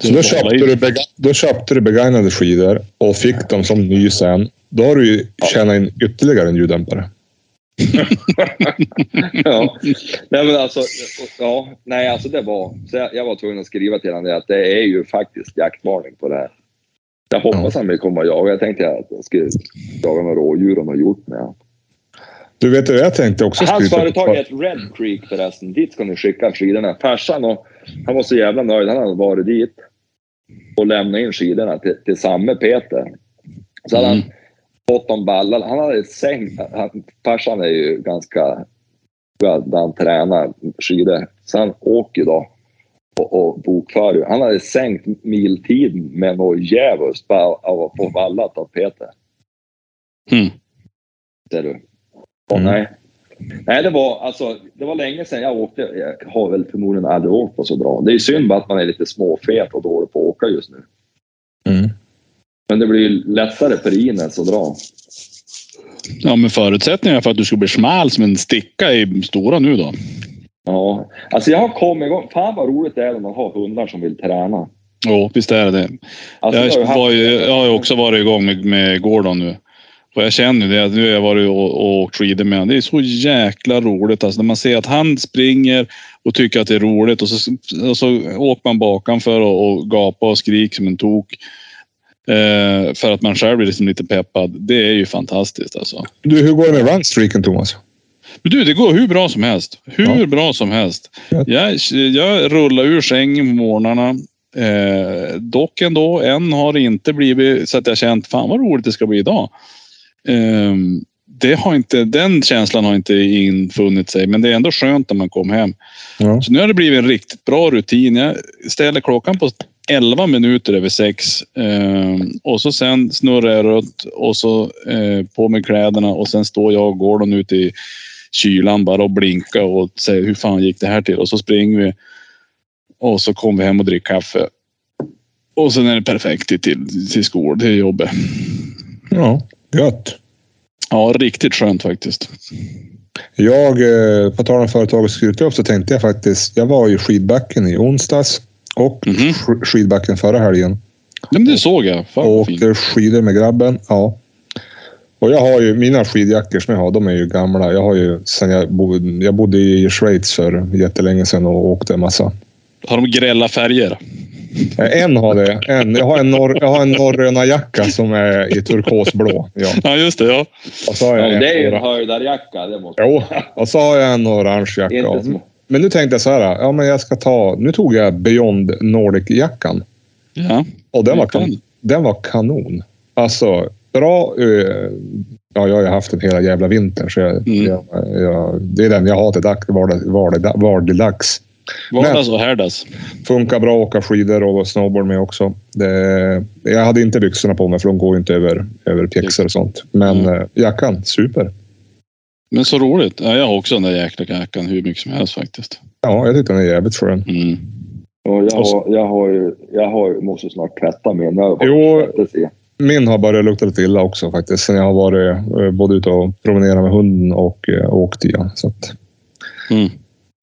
Så då köpte, du bega- då köpte du begagnade skidor och fick dem som ny sen. Då har du ju tjänat in ytterligare en ljuddämpare.
ja. Nej, men alltså, ja, nej, alltså det var... Så jag, jag var tvungen att skriva till honom det att det är ju faktiskt jaktvarning på det här. Jag hoppas han vill komma och jaga. Jag tänkte att jag skulle jaga några rådjur om har gjort med honom.
Du vet vad jag tänkte också?
Hans
skryta-
företag heter Red Creek förresten. Dit ska ni skicka skidorna. Farsan och, han var så jävla nöjd. Han hade varit dit och lämnat in skidorna till, till samme Peter. Så hade han
Mm.
fått dem balla. Han hade ett säng. Han, farsan är ju ganska... Han tränar skidor. Så han åker ju då och, och bokför. ju. Han hade sänkt miltiden med något djävulskt bara av att få vallat av Peter.
Mm.
Ser du? Åh,
Mm.
nej. Nej, det var, alltså, det var länge sedan jag åkte. Jag har väl förmodligen aldrig åkt på så bra. Det är synd bara att man är lite småfet och dålig på att åka just nu.
Mm.
Men det blir ju lättare för Ines att dra.
Ja, men förutsättningarna för att du ska bli smal som en sticka är stora nu då.
Ja, alltså jag har kommit igång. Fan vad roligt det är när man har hundar som vill träna.
Jo, visst är det det.
Alltså,
jag,
har ju haft-
var ju, jag har ju också varit igång med, med Gordon nu. Och jag känner det. att Nu har jag varit och, och åkt skidor med honom. Det är så jäkla roligt. Alltså, när man ser att han springer och tycker att det är roligt. Och så, och så åker man bakanför och, och gapar och skriker som en tok. Eh, för att man själv blir liksom lite peppad. Det är ju fantastiskt alltså.
Du, hur går det med runstreaken, Thomas?
Men du, det går hur bra som helst. Hur
Ja.
bra som helst.
Ja.
Jag, jag rullar ur sängen på morgnarna. Eh, dock ändå, än har det inte blivit så att jag känt fan vad roligt det ska bli idag. Ehm, det har inte, den känslan har inte infunnit sig, men det är ändå skönt när man kom hem.
Ja.
Så nu har det blivit en riktigt bra rutin. Jag ställer klockan på 11 minuter över sex ehm, och så sen snurrar jag runt och så eh, på med kläderna och sen står jag och Gordon ute i kylan bara och blinkar och säger hur fan gick det här till? Och så springer vi och så kommer vi hem och dricker kaffe. Och sen är det perfekt till, till, till skol, till jobbet.
ja, gött.
Ja, riktigt skönt faktiskt.
Jag, eh, på tal om företag och skryta upp, så tänkte jag faktiskt... Jag var ju skidbacken i onsdags och
Mhm.
sk- skidbacken förra helgen.
Ja, men det såg jag. Fan,
och
vad fint.
åkte skidor med grabben. Ja. Och jag har ju mina skidjackor som jag har, de är ju gamla. Jag har ju sen jag bodde, jag bodde i Schweiz för jättelänge sedan och åkte en massa.
Har de grälla färger?
Eh, En har det. En. Jag har en, norr, jag har en norröna jacka som är i turkosblå. Ja.
Ja, just det. Ja.
Och så har
Ja,
jag
men det är ju
en,
en höjdarjacka. Det måste
jo, och så har jag en orange jacka.
inte små.
Men nu tänkte jag så här. Ja, men jag ska ta, nu tog jag Beyond Nordic-jackan.
ja.
Och den var,
Vilken?
kan, den var kanon. Alltså, bra... eh, Ja, jag har ju haft den hela jävla vintern. Så jag,
Mm.
jag, jag, det är den jag har till dag- vardag- vardag- vardagdags.
Vardags och härdags.
Funkar bra att åka skidor och snowboard med också. Det, jag hade inte byxorna på mig för de går ju inte över, över pjäxor och sånt. Men eh, jackan, super.
Men så roligt. Ja, jag har också den där jäkla kackan hur mycket som helst faktiskt.
Ja, jag tyckte den är jävligt skön.
Mm.
Och jag,
Och så-
har, jag, har ju, jag har, ju- måste snart tvätta min. Jag har
Jo.
fått se.
Min har börjat lukta lite illa också faktiskt. Sen jag har varit eh, både ute och promenerat med hunden och eh, åkt i den. Så att...
Mm.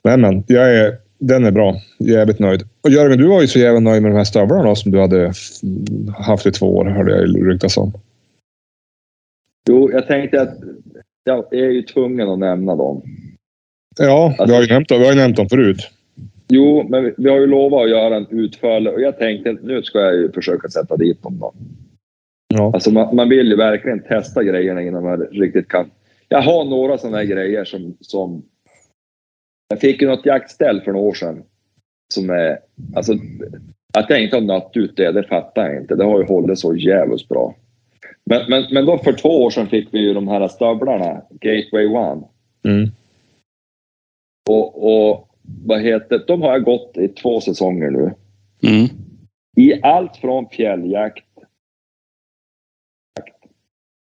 Nej, men jag är, den är bra. Jävligt nöjd. Och Jörgen, du var ju så jävla nöjd med de här stövlarna som du hade f- haft i två år, hörde jag ju ryktas om.
Jo, jag tänkte att jag är ju tvungen att nämna dem.
Ja, vi har ju nämnt, dem- vi har ju nämnt dem förut.
Jo, men vi- vi har ju lovat att göra en utförlig och jag tänkte att nu ska jag ju försöka sätta dit dem då.
Ja.
Alltså man, man vill ju verkligen testa grejerna innan man riktigt kan. Jag har några sådana här grejer som, som... Jag fick ju något jaktställ för några år sedan. Som är... Alltså, att jag inte har natt ut det, det fattar jag inte. Det har ju hållit så jävligt bra. Men, men, men då för två år sedan fick vi ju de här stövlarna, Gateway One.
Mm.
Och, och vad heter De har jag gått i två säsonger nu.
Mm.
I allt från fjälljakt. jakt.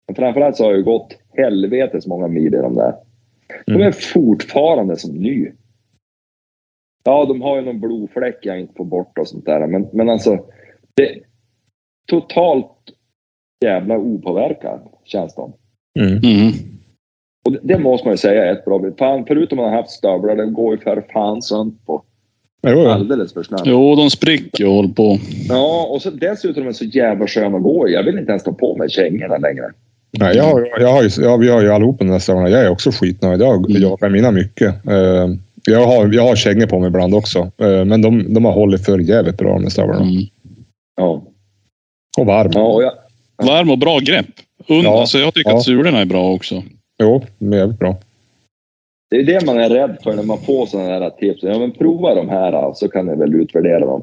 Men framförallt så har jag ju gått helvetes många mil i de där. De är
Mm.
fortfarande som ny. Ja, de har ju någon blodfläck jag inte får bort och sånt där. Men, men alltså, det totalt jävla opåverkad känns de.
Mm.
Mm.
Och det, det måste man ju säga är ett bra bud. Fan, Förutom att man har haft stövlar, det går ju för fan sönder på.
Jo, jo.
Alldeles för snabbt.
Jo, de spricker och håller på.
Ja, och så dessutom är de så jävla sköna att gå i. Jag vill inte ens ta på mig kängorna längre.
Nej, jag, har- jag har ju, jag, vi har ju allihopa de där stövlarna. Jag är också skitnöjd. Jag
Mm.
jagar med mina mycket. Eh, jag har, jag har kängor på mig ibland också, Eh, men de, de har hållit för jävligt bra de där stövlarna.
Mm.
Ja.
Och varm.
ja och jag,
Varm och bra grepp. Und,
Ja.
alltså, jag tycker
Ja.
att sulorna är bra också.
Jo, de är jävligt bra.
det är det man är rädd för när man får sådana här tips. Ja, men prova de här så kan ni väl utvärdera dem.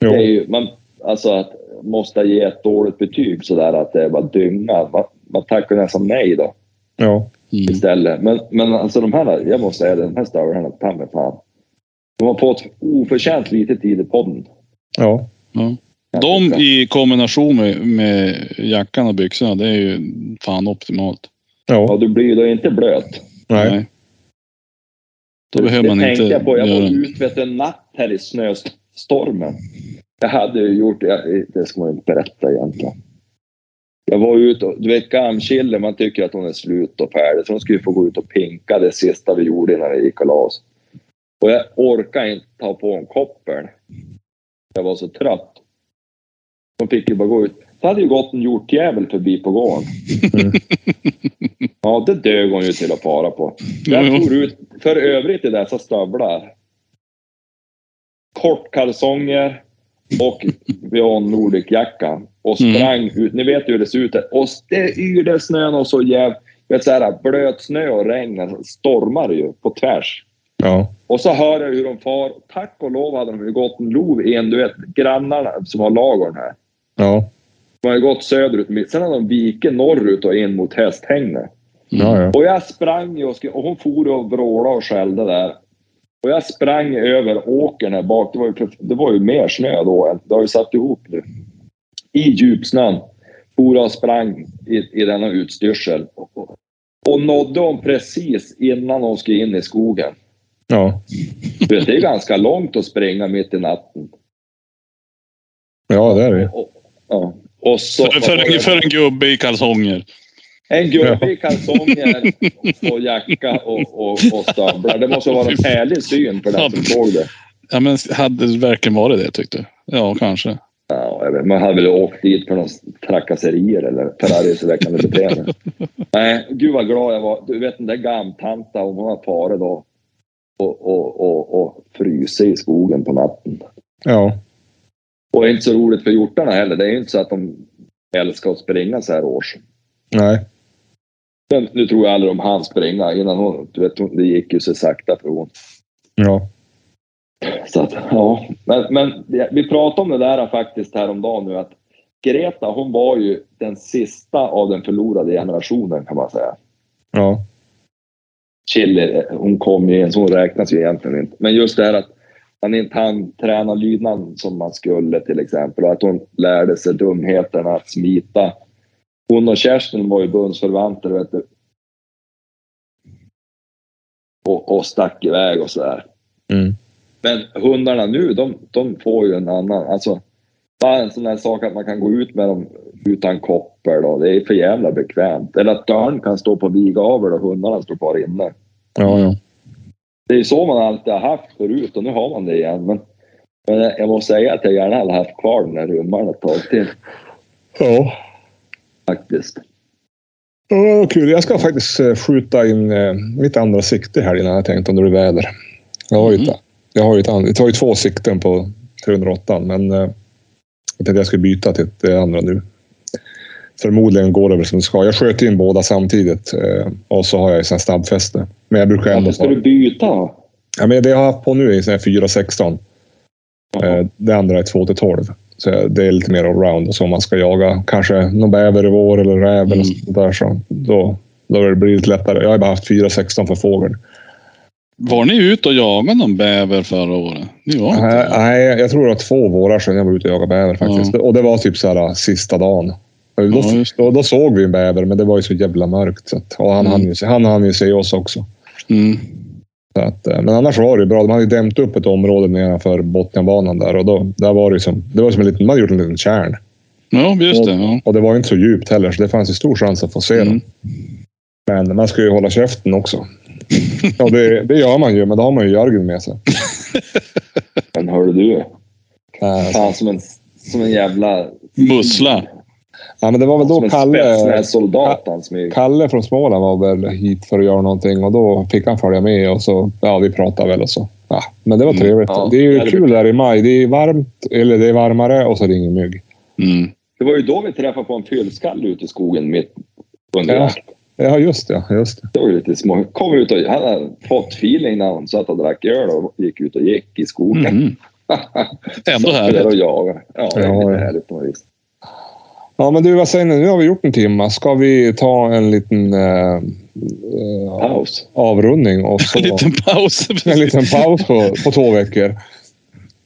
Jo.
Det är ju, man, alltså att måste ge ett dåligt betyg sådär att det är bara dynga. Man, man tackar nästan nej då
Ja.
Mm.
istället. Men, men alltså de här, jag måste säga det, de här stövlarna, ta mig fan. De har fått oförtjänt lite tid i podden.
ja.
De i kombination med, med jackan och byxorna, det är ju fan optimalt.
Ja,
Ja.
du blir ju då inte blöt.
Nej.
Då behöver
det
man inte
tänkte jag på. Jag
göra...
var ute vet, du, en natt här i snöstormen. Jag hade ju gjort, jag, det ska man ju inte berätta egentligen. Jag var ute och, du vet Gamkille, man tycker att hon är slut och färdig. Så hon skulle få gå ut och pinka det sista vi gjorde innan vi gick och la oss. Och jag orkade inte ta på en koppel. Jag var så trött. Hon fick ju bara gå ut. Det hade ju gått en hjortjävel förbi på gården.
Mm.
Ja, det dög hon ju till att fara på.
Jo,
Jag
jo.
for ut, för övrigt i dessa stövlar. Kortkalsonger och Björn Nordic-jacka. Och sprang ut. Ni vet ju hur det ser ut där. Och det yrde snön och så jävligt. Vet så här, blöt snö och regn. Alltså, Stormar ju på tvärs.
Ja.
Och så hör jag hur de far. Tack och lov hade de ju gått en lov i en, du vet, grannarna som har lagorn här.
Ja.
De har ju gått söderut. Sen har de viket norrut och in mot hästhägnet.
Ja. Ja.
Och jag sprang ju och, sk- och hon for och vrålade och skällde där. Och jag sprang över åkern här bak. Det var ju, prof- det var ju mer snö då. än- Det har ju satt ihop nu. I djupsnön. For och sprang i, i denna utstyrsel. Och, och nådde hon precis innan hon skulle in i skogen.
Ja.
Du vet, Det är ganska långt att springa mitt i natten.
ja, det är det.
Ja. Och så,
För, för, en, för en gubbe i kalsonger.
En gubbe i kalsonger och jacka och, och, och stövlar. Det måste vara en härlig syn för den som såg det.
Ja, men hade det verkligen varit det tyckte du? Ja, kanske.
Ja, jag vet, man hade väl åkt dit för några trakasserier eller förargelseväckande beteende. Nej, gud vad glad jag var. Du vet den där gamtanta, hon har farit då och, och, och, och frysit i skogen på natten.
Ja.
Och det är inte så roligt för hjortarna heller. Det är ju inte så att de älskar att springa så här års.
Nej.
Men nu tror jag aldrig de hann springa innan hon, du vet, hon- det gick ju så sakta för hon.
Ja.
Så att, ja. Men, men vi pratade om det där faktiskt häromdagen nu att Greta hon var ju den sista av den förlorade generationen kan man säga.
Ja.
Chili, hon kom ju in, så hon räknas ju egentligen inte. Men just det här att man inte hann träna lydnaden som man skulle till exempel och att hon lärde sig dumheterna att smita. Hon och Kerstin var ju bundsförvanter vet du. och, och stack iväg och sådär.
Mm.
Men hundarna nu, de, de får ju en annan... Alltså, bara en sån där sak att man kan gå ut med dem utan koppel. Då. Det är för jävla bekvämt. Eller att dörren kan stå på vigavel och hundarna står kvar inne.
Ja,
Mm.
ja.
Det är så man alltid har haft förut och nu har man det igen. Men, men jag måste säga att jag gärna hade haft kvar den här rummaren ett tag till
Ja.
faktiskt.
Ja, vad kul. Jag ska faktiskt eh, skjuta in eh, mitt andra sikte här innan jag tänkt om det blir väder. Jag har ju
Mm.
ett, jag har ju ett, an- jag tar ju två sikten på 308 men eh, jag tänkte jag skulle byta till ett eh, andra nu. Förmodligen går det väl som det ska. Jag sköt in båda samtidigt eh, och så har jag ju sen snabbfäste. Men jag brukar ändå
Varför ska
ta...
du byta? då?
Ja, men det jag har haft på nu är en sån här 416.
Jaha.
Eh, Det andra är 2 till 12. Så det är lite mer allround. Och så om man ska jaga kanske någon bäver i vår eller räv eller
Mm.
sånt där. Så då, då blir det lite lättare. Jag har bara haft 4-16 för fågel.
Var ni ute och jagade någon bäver förra året? Ni var inte
Nej,
det.
nej, jag tror det var två vårar sedan jag var ute och jagade bäver faktiskt. Och det var typ så här sista dagen. Och Då,
Ja, just
då, då såg vi en bäver, men det var ju så jävla mörkt. Så att, och han,
Mm.
hann ju, se- han hann ju se oss också.
Mm.
Så att, eh, men annars var det ju bra. De hade ju dämt upp ett område nedanför Botniabanan där. Och då, där var det ju som, det var som en liten, man hade gjort en liten kärn.
Ja, just det.
Mm.
Ja.
Och det var ju inte så djupt heller, så det fanns ju stor chans att få se
Mm.
dem. Men man ska ju hålla käften också. Ja, det, det gör man ju, men då har man ju Jörgen med sig.
Men hörde du,
Eh,
fan som en, som en jävla...
Mussla.
Ja, men det var väl då
Som en
Kalle,
spetsnäs soldat han smyger.
Kalle från Småland var väl hit för att göra någonting och då fick han följa med och så, ja, vi pratade väl och så. Ja, men det var
Mm,
trevligt.
ja,
det är
det
ju
hade
kul där i maj. Det är varmt, eller det är varmare och så är det ingen mygg.
Mm.
Det var ju då vi träffade på en fyllskalle ute i skogen mitt under
Ja.
jakt.
Ja, just det. Just det.
Det var ju lite små. Kom ut och, han hade fått feeling när han satt och drack öl och gick ut och gick i skogen.
Mm. Ändå
Där
härligt.
och jagade. Ja, det är
Ja,
lite
ja.
härligt på något vis.
Ja, men du, vad säger ni? Nu har vi gjort en timme. Ska vi ta en liten eh, eh,
Paus.
avrundning och så
En liten paus.
en liten paus på, på två veckor.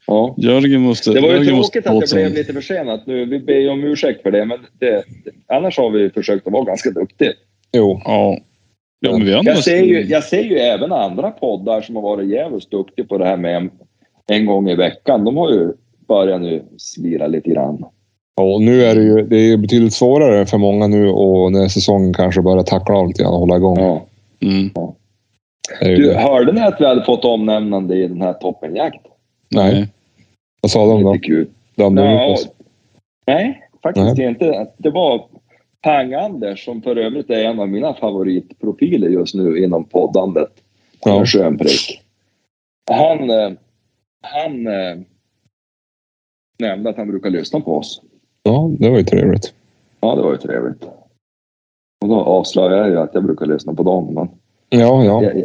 Ja.
Jörgen måste...
Det var ju
Jörgen måste
tråkigt att det
åt
blev
sig.
lite försenat nu. Vi ber ju om ursäkt för det, men det, annars har vi försökt att vara ganska duktiga.
Jo.
Ja. ja men vi har
Jag
nästan-
ser, ju, jag ser ju även andra poddar som har varit jävligt duktiga på det här med en, en gång i veckan. De har ju börjat nu slira lite grann.
Och nu är det ju det är ju betydligt svårare för många nu och när säsongen kanske börjar tackla av lite grann och hålla igång.
Ja.
Mm.
Det är ju
Du,
det.
hörde ni att vi hade fått omnämnande i den här toppenjakt?
Nej. Vad sa de då?
Lite kul.
Dömde de ut
Ja,
oss?
nej, faktiskt inte. Det var Pang-Anders, som för övrigt är en av mina favoritprofiler just nu inom poddandet.
Ja.
Ja. Schönprick. Han, eh, han eh, nämnde att han brukar lyssna på oss.
Ja, det var ju trevligt.
Ja, det var ju trevligt. Och då avslöjar jag ju att jag brukar lyssna på dem. Men
Ja, ja.
jag, jag,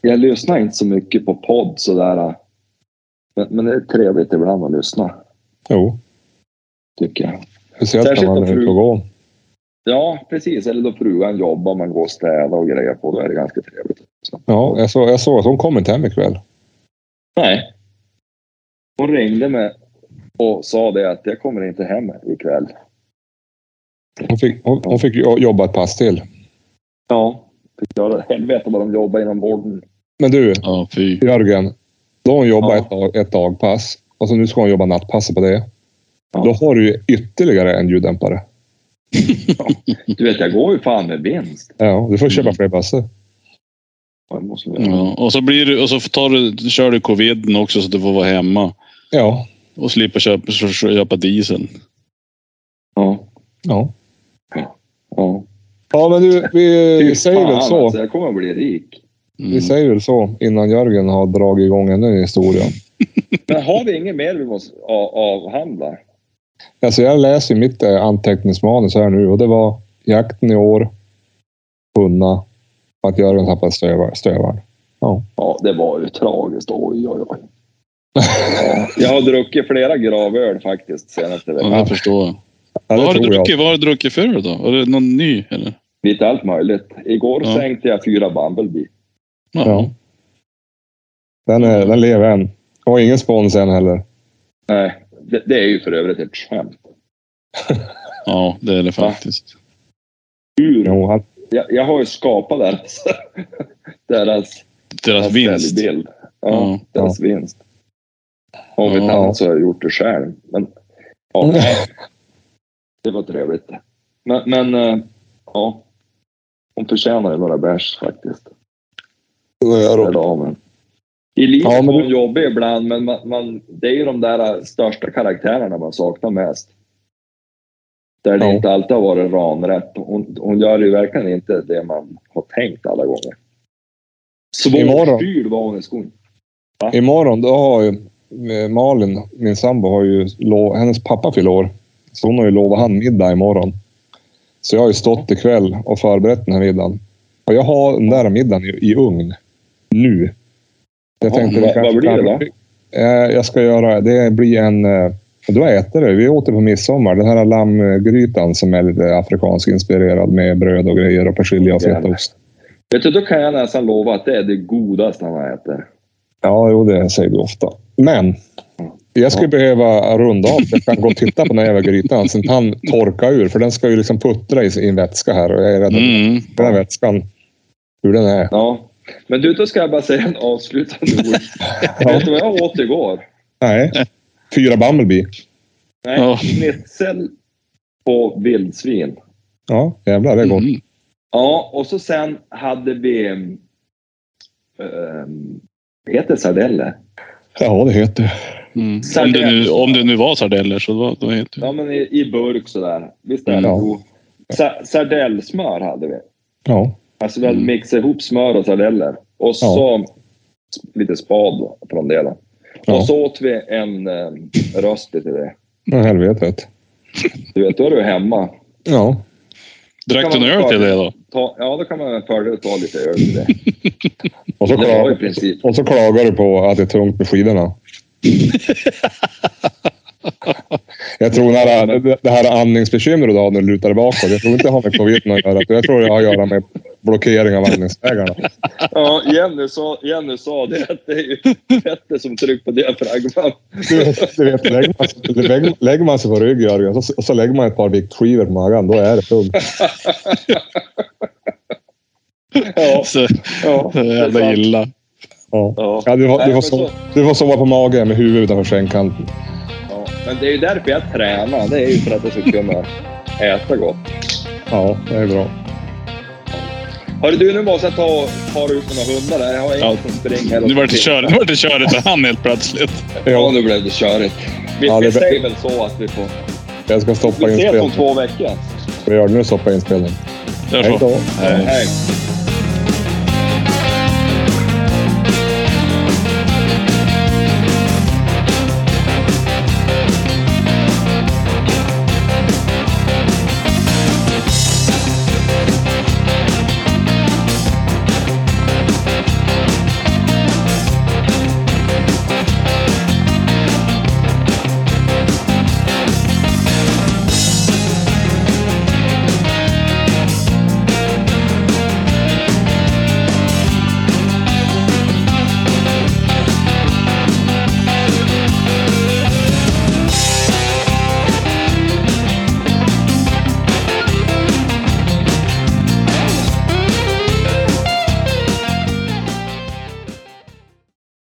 jag lyssnar inte så mycket på podd sådär. eh, Men, men det är trevligt ibland att lyssna,
Jo.
tycker jag.
Speciellt när
Särskilt
man
om
är ute
fru-
och går.
Ja, precis. Eller då frugan jobbar, man går och städar och grejer på. Då är det ganska trevligt.
Ja, jag såg, jag såg att hon kom inte hem ikväll.
Nej. Hon ringde mig och sa det att jag kommer inte hem ikväll.
Hon fick, hon, hon fick jo- jobba ett pass till.
Ja. Fick göra det. Helvete vad de jobbar inom vården.
Men du,
Ja, fy.
Jörgen. Då har hon jobbat
Ja.
ett, dag, ett dagpass och så nu ska hon jobba nattpasset på det.
Ja.
Då har du ju ytterligare en ljuddämpare.
Du vet, jag går ju fan med vinst.
Ja, du får köpa
Mm.
fler bassor.
Ja, det måste jag göra.
Ja. Och så, blir du, och så tar du, kör du coviden också så du får vara hemma.
Ja.
Och slipper köpa, köpa diesel.
Ja.
Ja.
ja.
ja, men du, vi
Fy
säger väl
fan,
så.
Alltså, jag kommer att bli rik.
Mm.
Vi säger väl så innan Jörgen har dragit igång ännu en historia.
Men har vi inget mer vi måste a- avhandla?
Alltså jag läser ju mitt eh, anteckningsmanus här nu och det var jakten i år, hunna och att Jörgen tappade stövar- stövaren.
Ja, det var ju tragiskt. Oj, oj, oj. Ja, jag har druckit flera gravöl faktiskt senaste
Ja,
veckan.
det förstår jag.
Ja,
Vad
det
har, du
tror jag.
druckit, vad har du druckit för då? Är det någon ny eller?
Lite allt möjligt. Igår
Ja.
sänkte jag fyra Bumblebee.
Ja. Den, är, den lever än. Och ingen spons än heller.
Nej, det, det är ju för övrigt ett skämt.
ja, det är det faktiskt.
Hur?
Jo, han,
Jag, jag har ju skapat deras, deras
deras
hans
vinst.
säljbild. Ja,
Ja.
deras vinst. Om inte
Ja.
annat så har jag gjort det själv. Men, ja,
Mm.
det var trevligt. Men, men eh, ja. Hon förtjänar ju några bärs faktiskt.
Det var jag
Den
då.
damen. I livet
Ja,
ja,
men
var
du-
hon jobbig ibland, men man, man, det är ju de där eh, största karaktärerna man saknar mest. Där det
Ja.
inte alltid har varit ranrätt. Hon, hon gör ju verkligen inte det man har tänkt alla gånger.
Imorgon.
Svårstyrd var hon i skolan.
Imorgon, då har ju eh, Malin, min sambo, har ju lov, hennes pappa fyller år. Så hon har ju lovat han middag imorgon. Så jag har ju stått ikväll och förberett den här middagen. Och jag har den där middagen i, i ugn. Nu. Jag
Ja,
tänkte
vad-
vi kanske
vad blir det
kan- Eh, Jag ska göra... Det blir en... eh, Du har ätit det. Vi åt det på midsommar. Den här lammgrytan som är lite afrikansk inspirerad med bröd och grejer och persilja och
Jävlar.
fetaost.
Vet du, då kan jag nästan lova att det är det godaste han äter.
Ja, jo, det säger du ofta. Men jag skulle behöva runda av. Jag kan gå och titta på den här jävla grytan så inte han torkar ur. För den ska ju liksom puttra i sin vätska här och jag är rädd att
Mm.
den här vätskan, hur den är.
Ja. Men du, då ska jag bara säga en avslutande ord. Vet du vad jag åt igår?
Nej. Fyra Bumblebee.
Nej,
Ja.
schnitzel på vildsvin.
Ja, jävlar det är gott.
Mm.
Ja, och så sen hade vi... Um, heter det sardeller?
Ja, det heter det.
Mm. Om, det nu, om det nu var sardeller så då, då heter det.
Ja, men i, i burk sådär. Visst är det
Ja.
god? Sa- Sardellsmör hade vi.
Ja.
Alltså vi hade
Mm.
mixat ihop smör och sardeller. Och så lite spad på de delarna.
Ja.
Och så åt vi en um, rösti till det.
Ja, helvetet.
Du vet, då är du hemma.
Ja.
Drack du
kan
en
man
öl
ta
till
det.
det då?
Ta, ja, då kan man med fördel ta lite öl till det.
Och så,
Det var i
klagar,
princip.
och så klagar du på att det är tungt med skidorna. Jag tror det här, det här andningsbekymret du har när du lutar dig bakåt. Jag tror inte det har med covid att göra. Jag tror det har att göra med blockering av andningsvägarna.
Ja, Jenny sa, Jenny sa det att det är ju Petter som trycker på diafragman.
Du vet, du vet, lägger, man sig, lägger, lägger man sig på rygg Jörgen och så, så lägger man ett par viktskivor på magen. Då är det tungt.
Ja,
Så,
ja,
så
det är
jävla
sant.
illa.
Ja.
Ja.
Ja, du, får,
Nej,
du, får
men
sova,
så-
du får sova på magen med huvudet utanför sängkanten.
ja. Men det är ju därför jag tränar. Det är ju för att jag ska kunna äta gott.
Ja, det är bra.
Hörru du, nu måste jag ta, ta ut mina hundar där. Jag har ingen
Ja.
som springer.
Nu vart det körigt. Nu vart det körigt för han helt plötsligt.
Ja,
Jag,
nu blev det körigt. Vi,
Ja, det-
vi säger väl så att vi får...
jag ska stoppa
Vi ses om
inspelningen.
två veckor.
Vi gör det nu. Stoppa inspelningen.
Gör
Hej
så.
då.
Hej.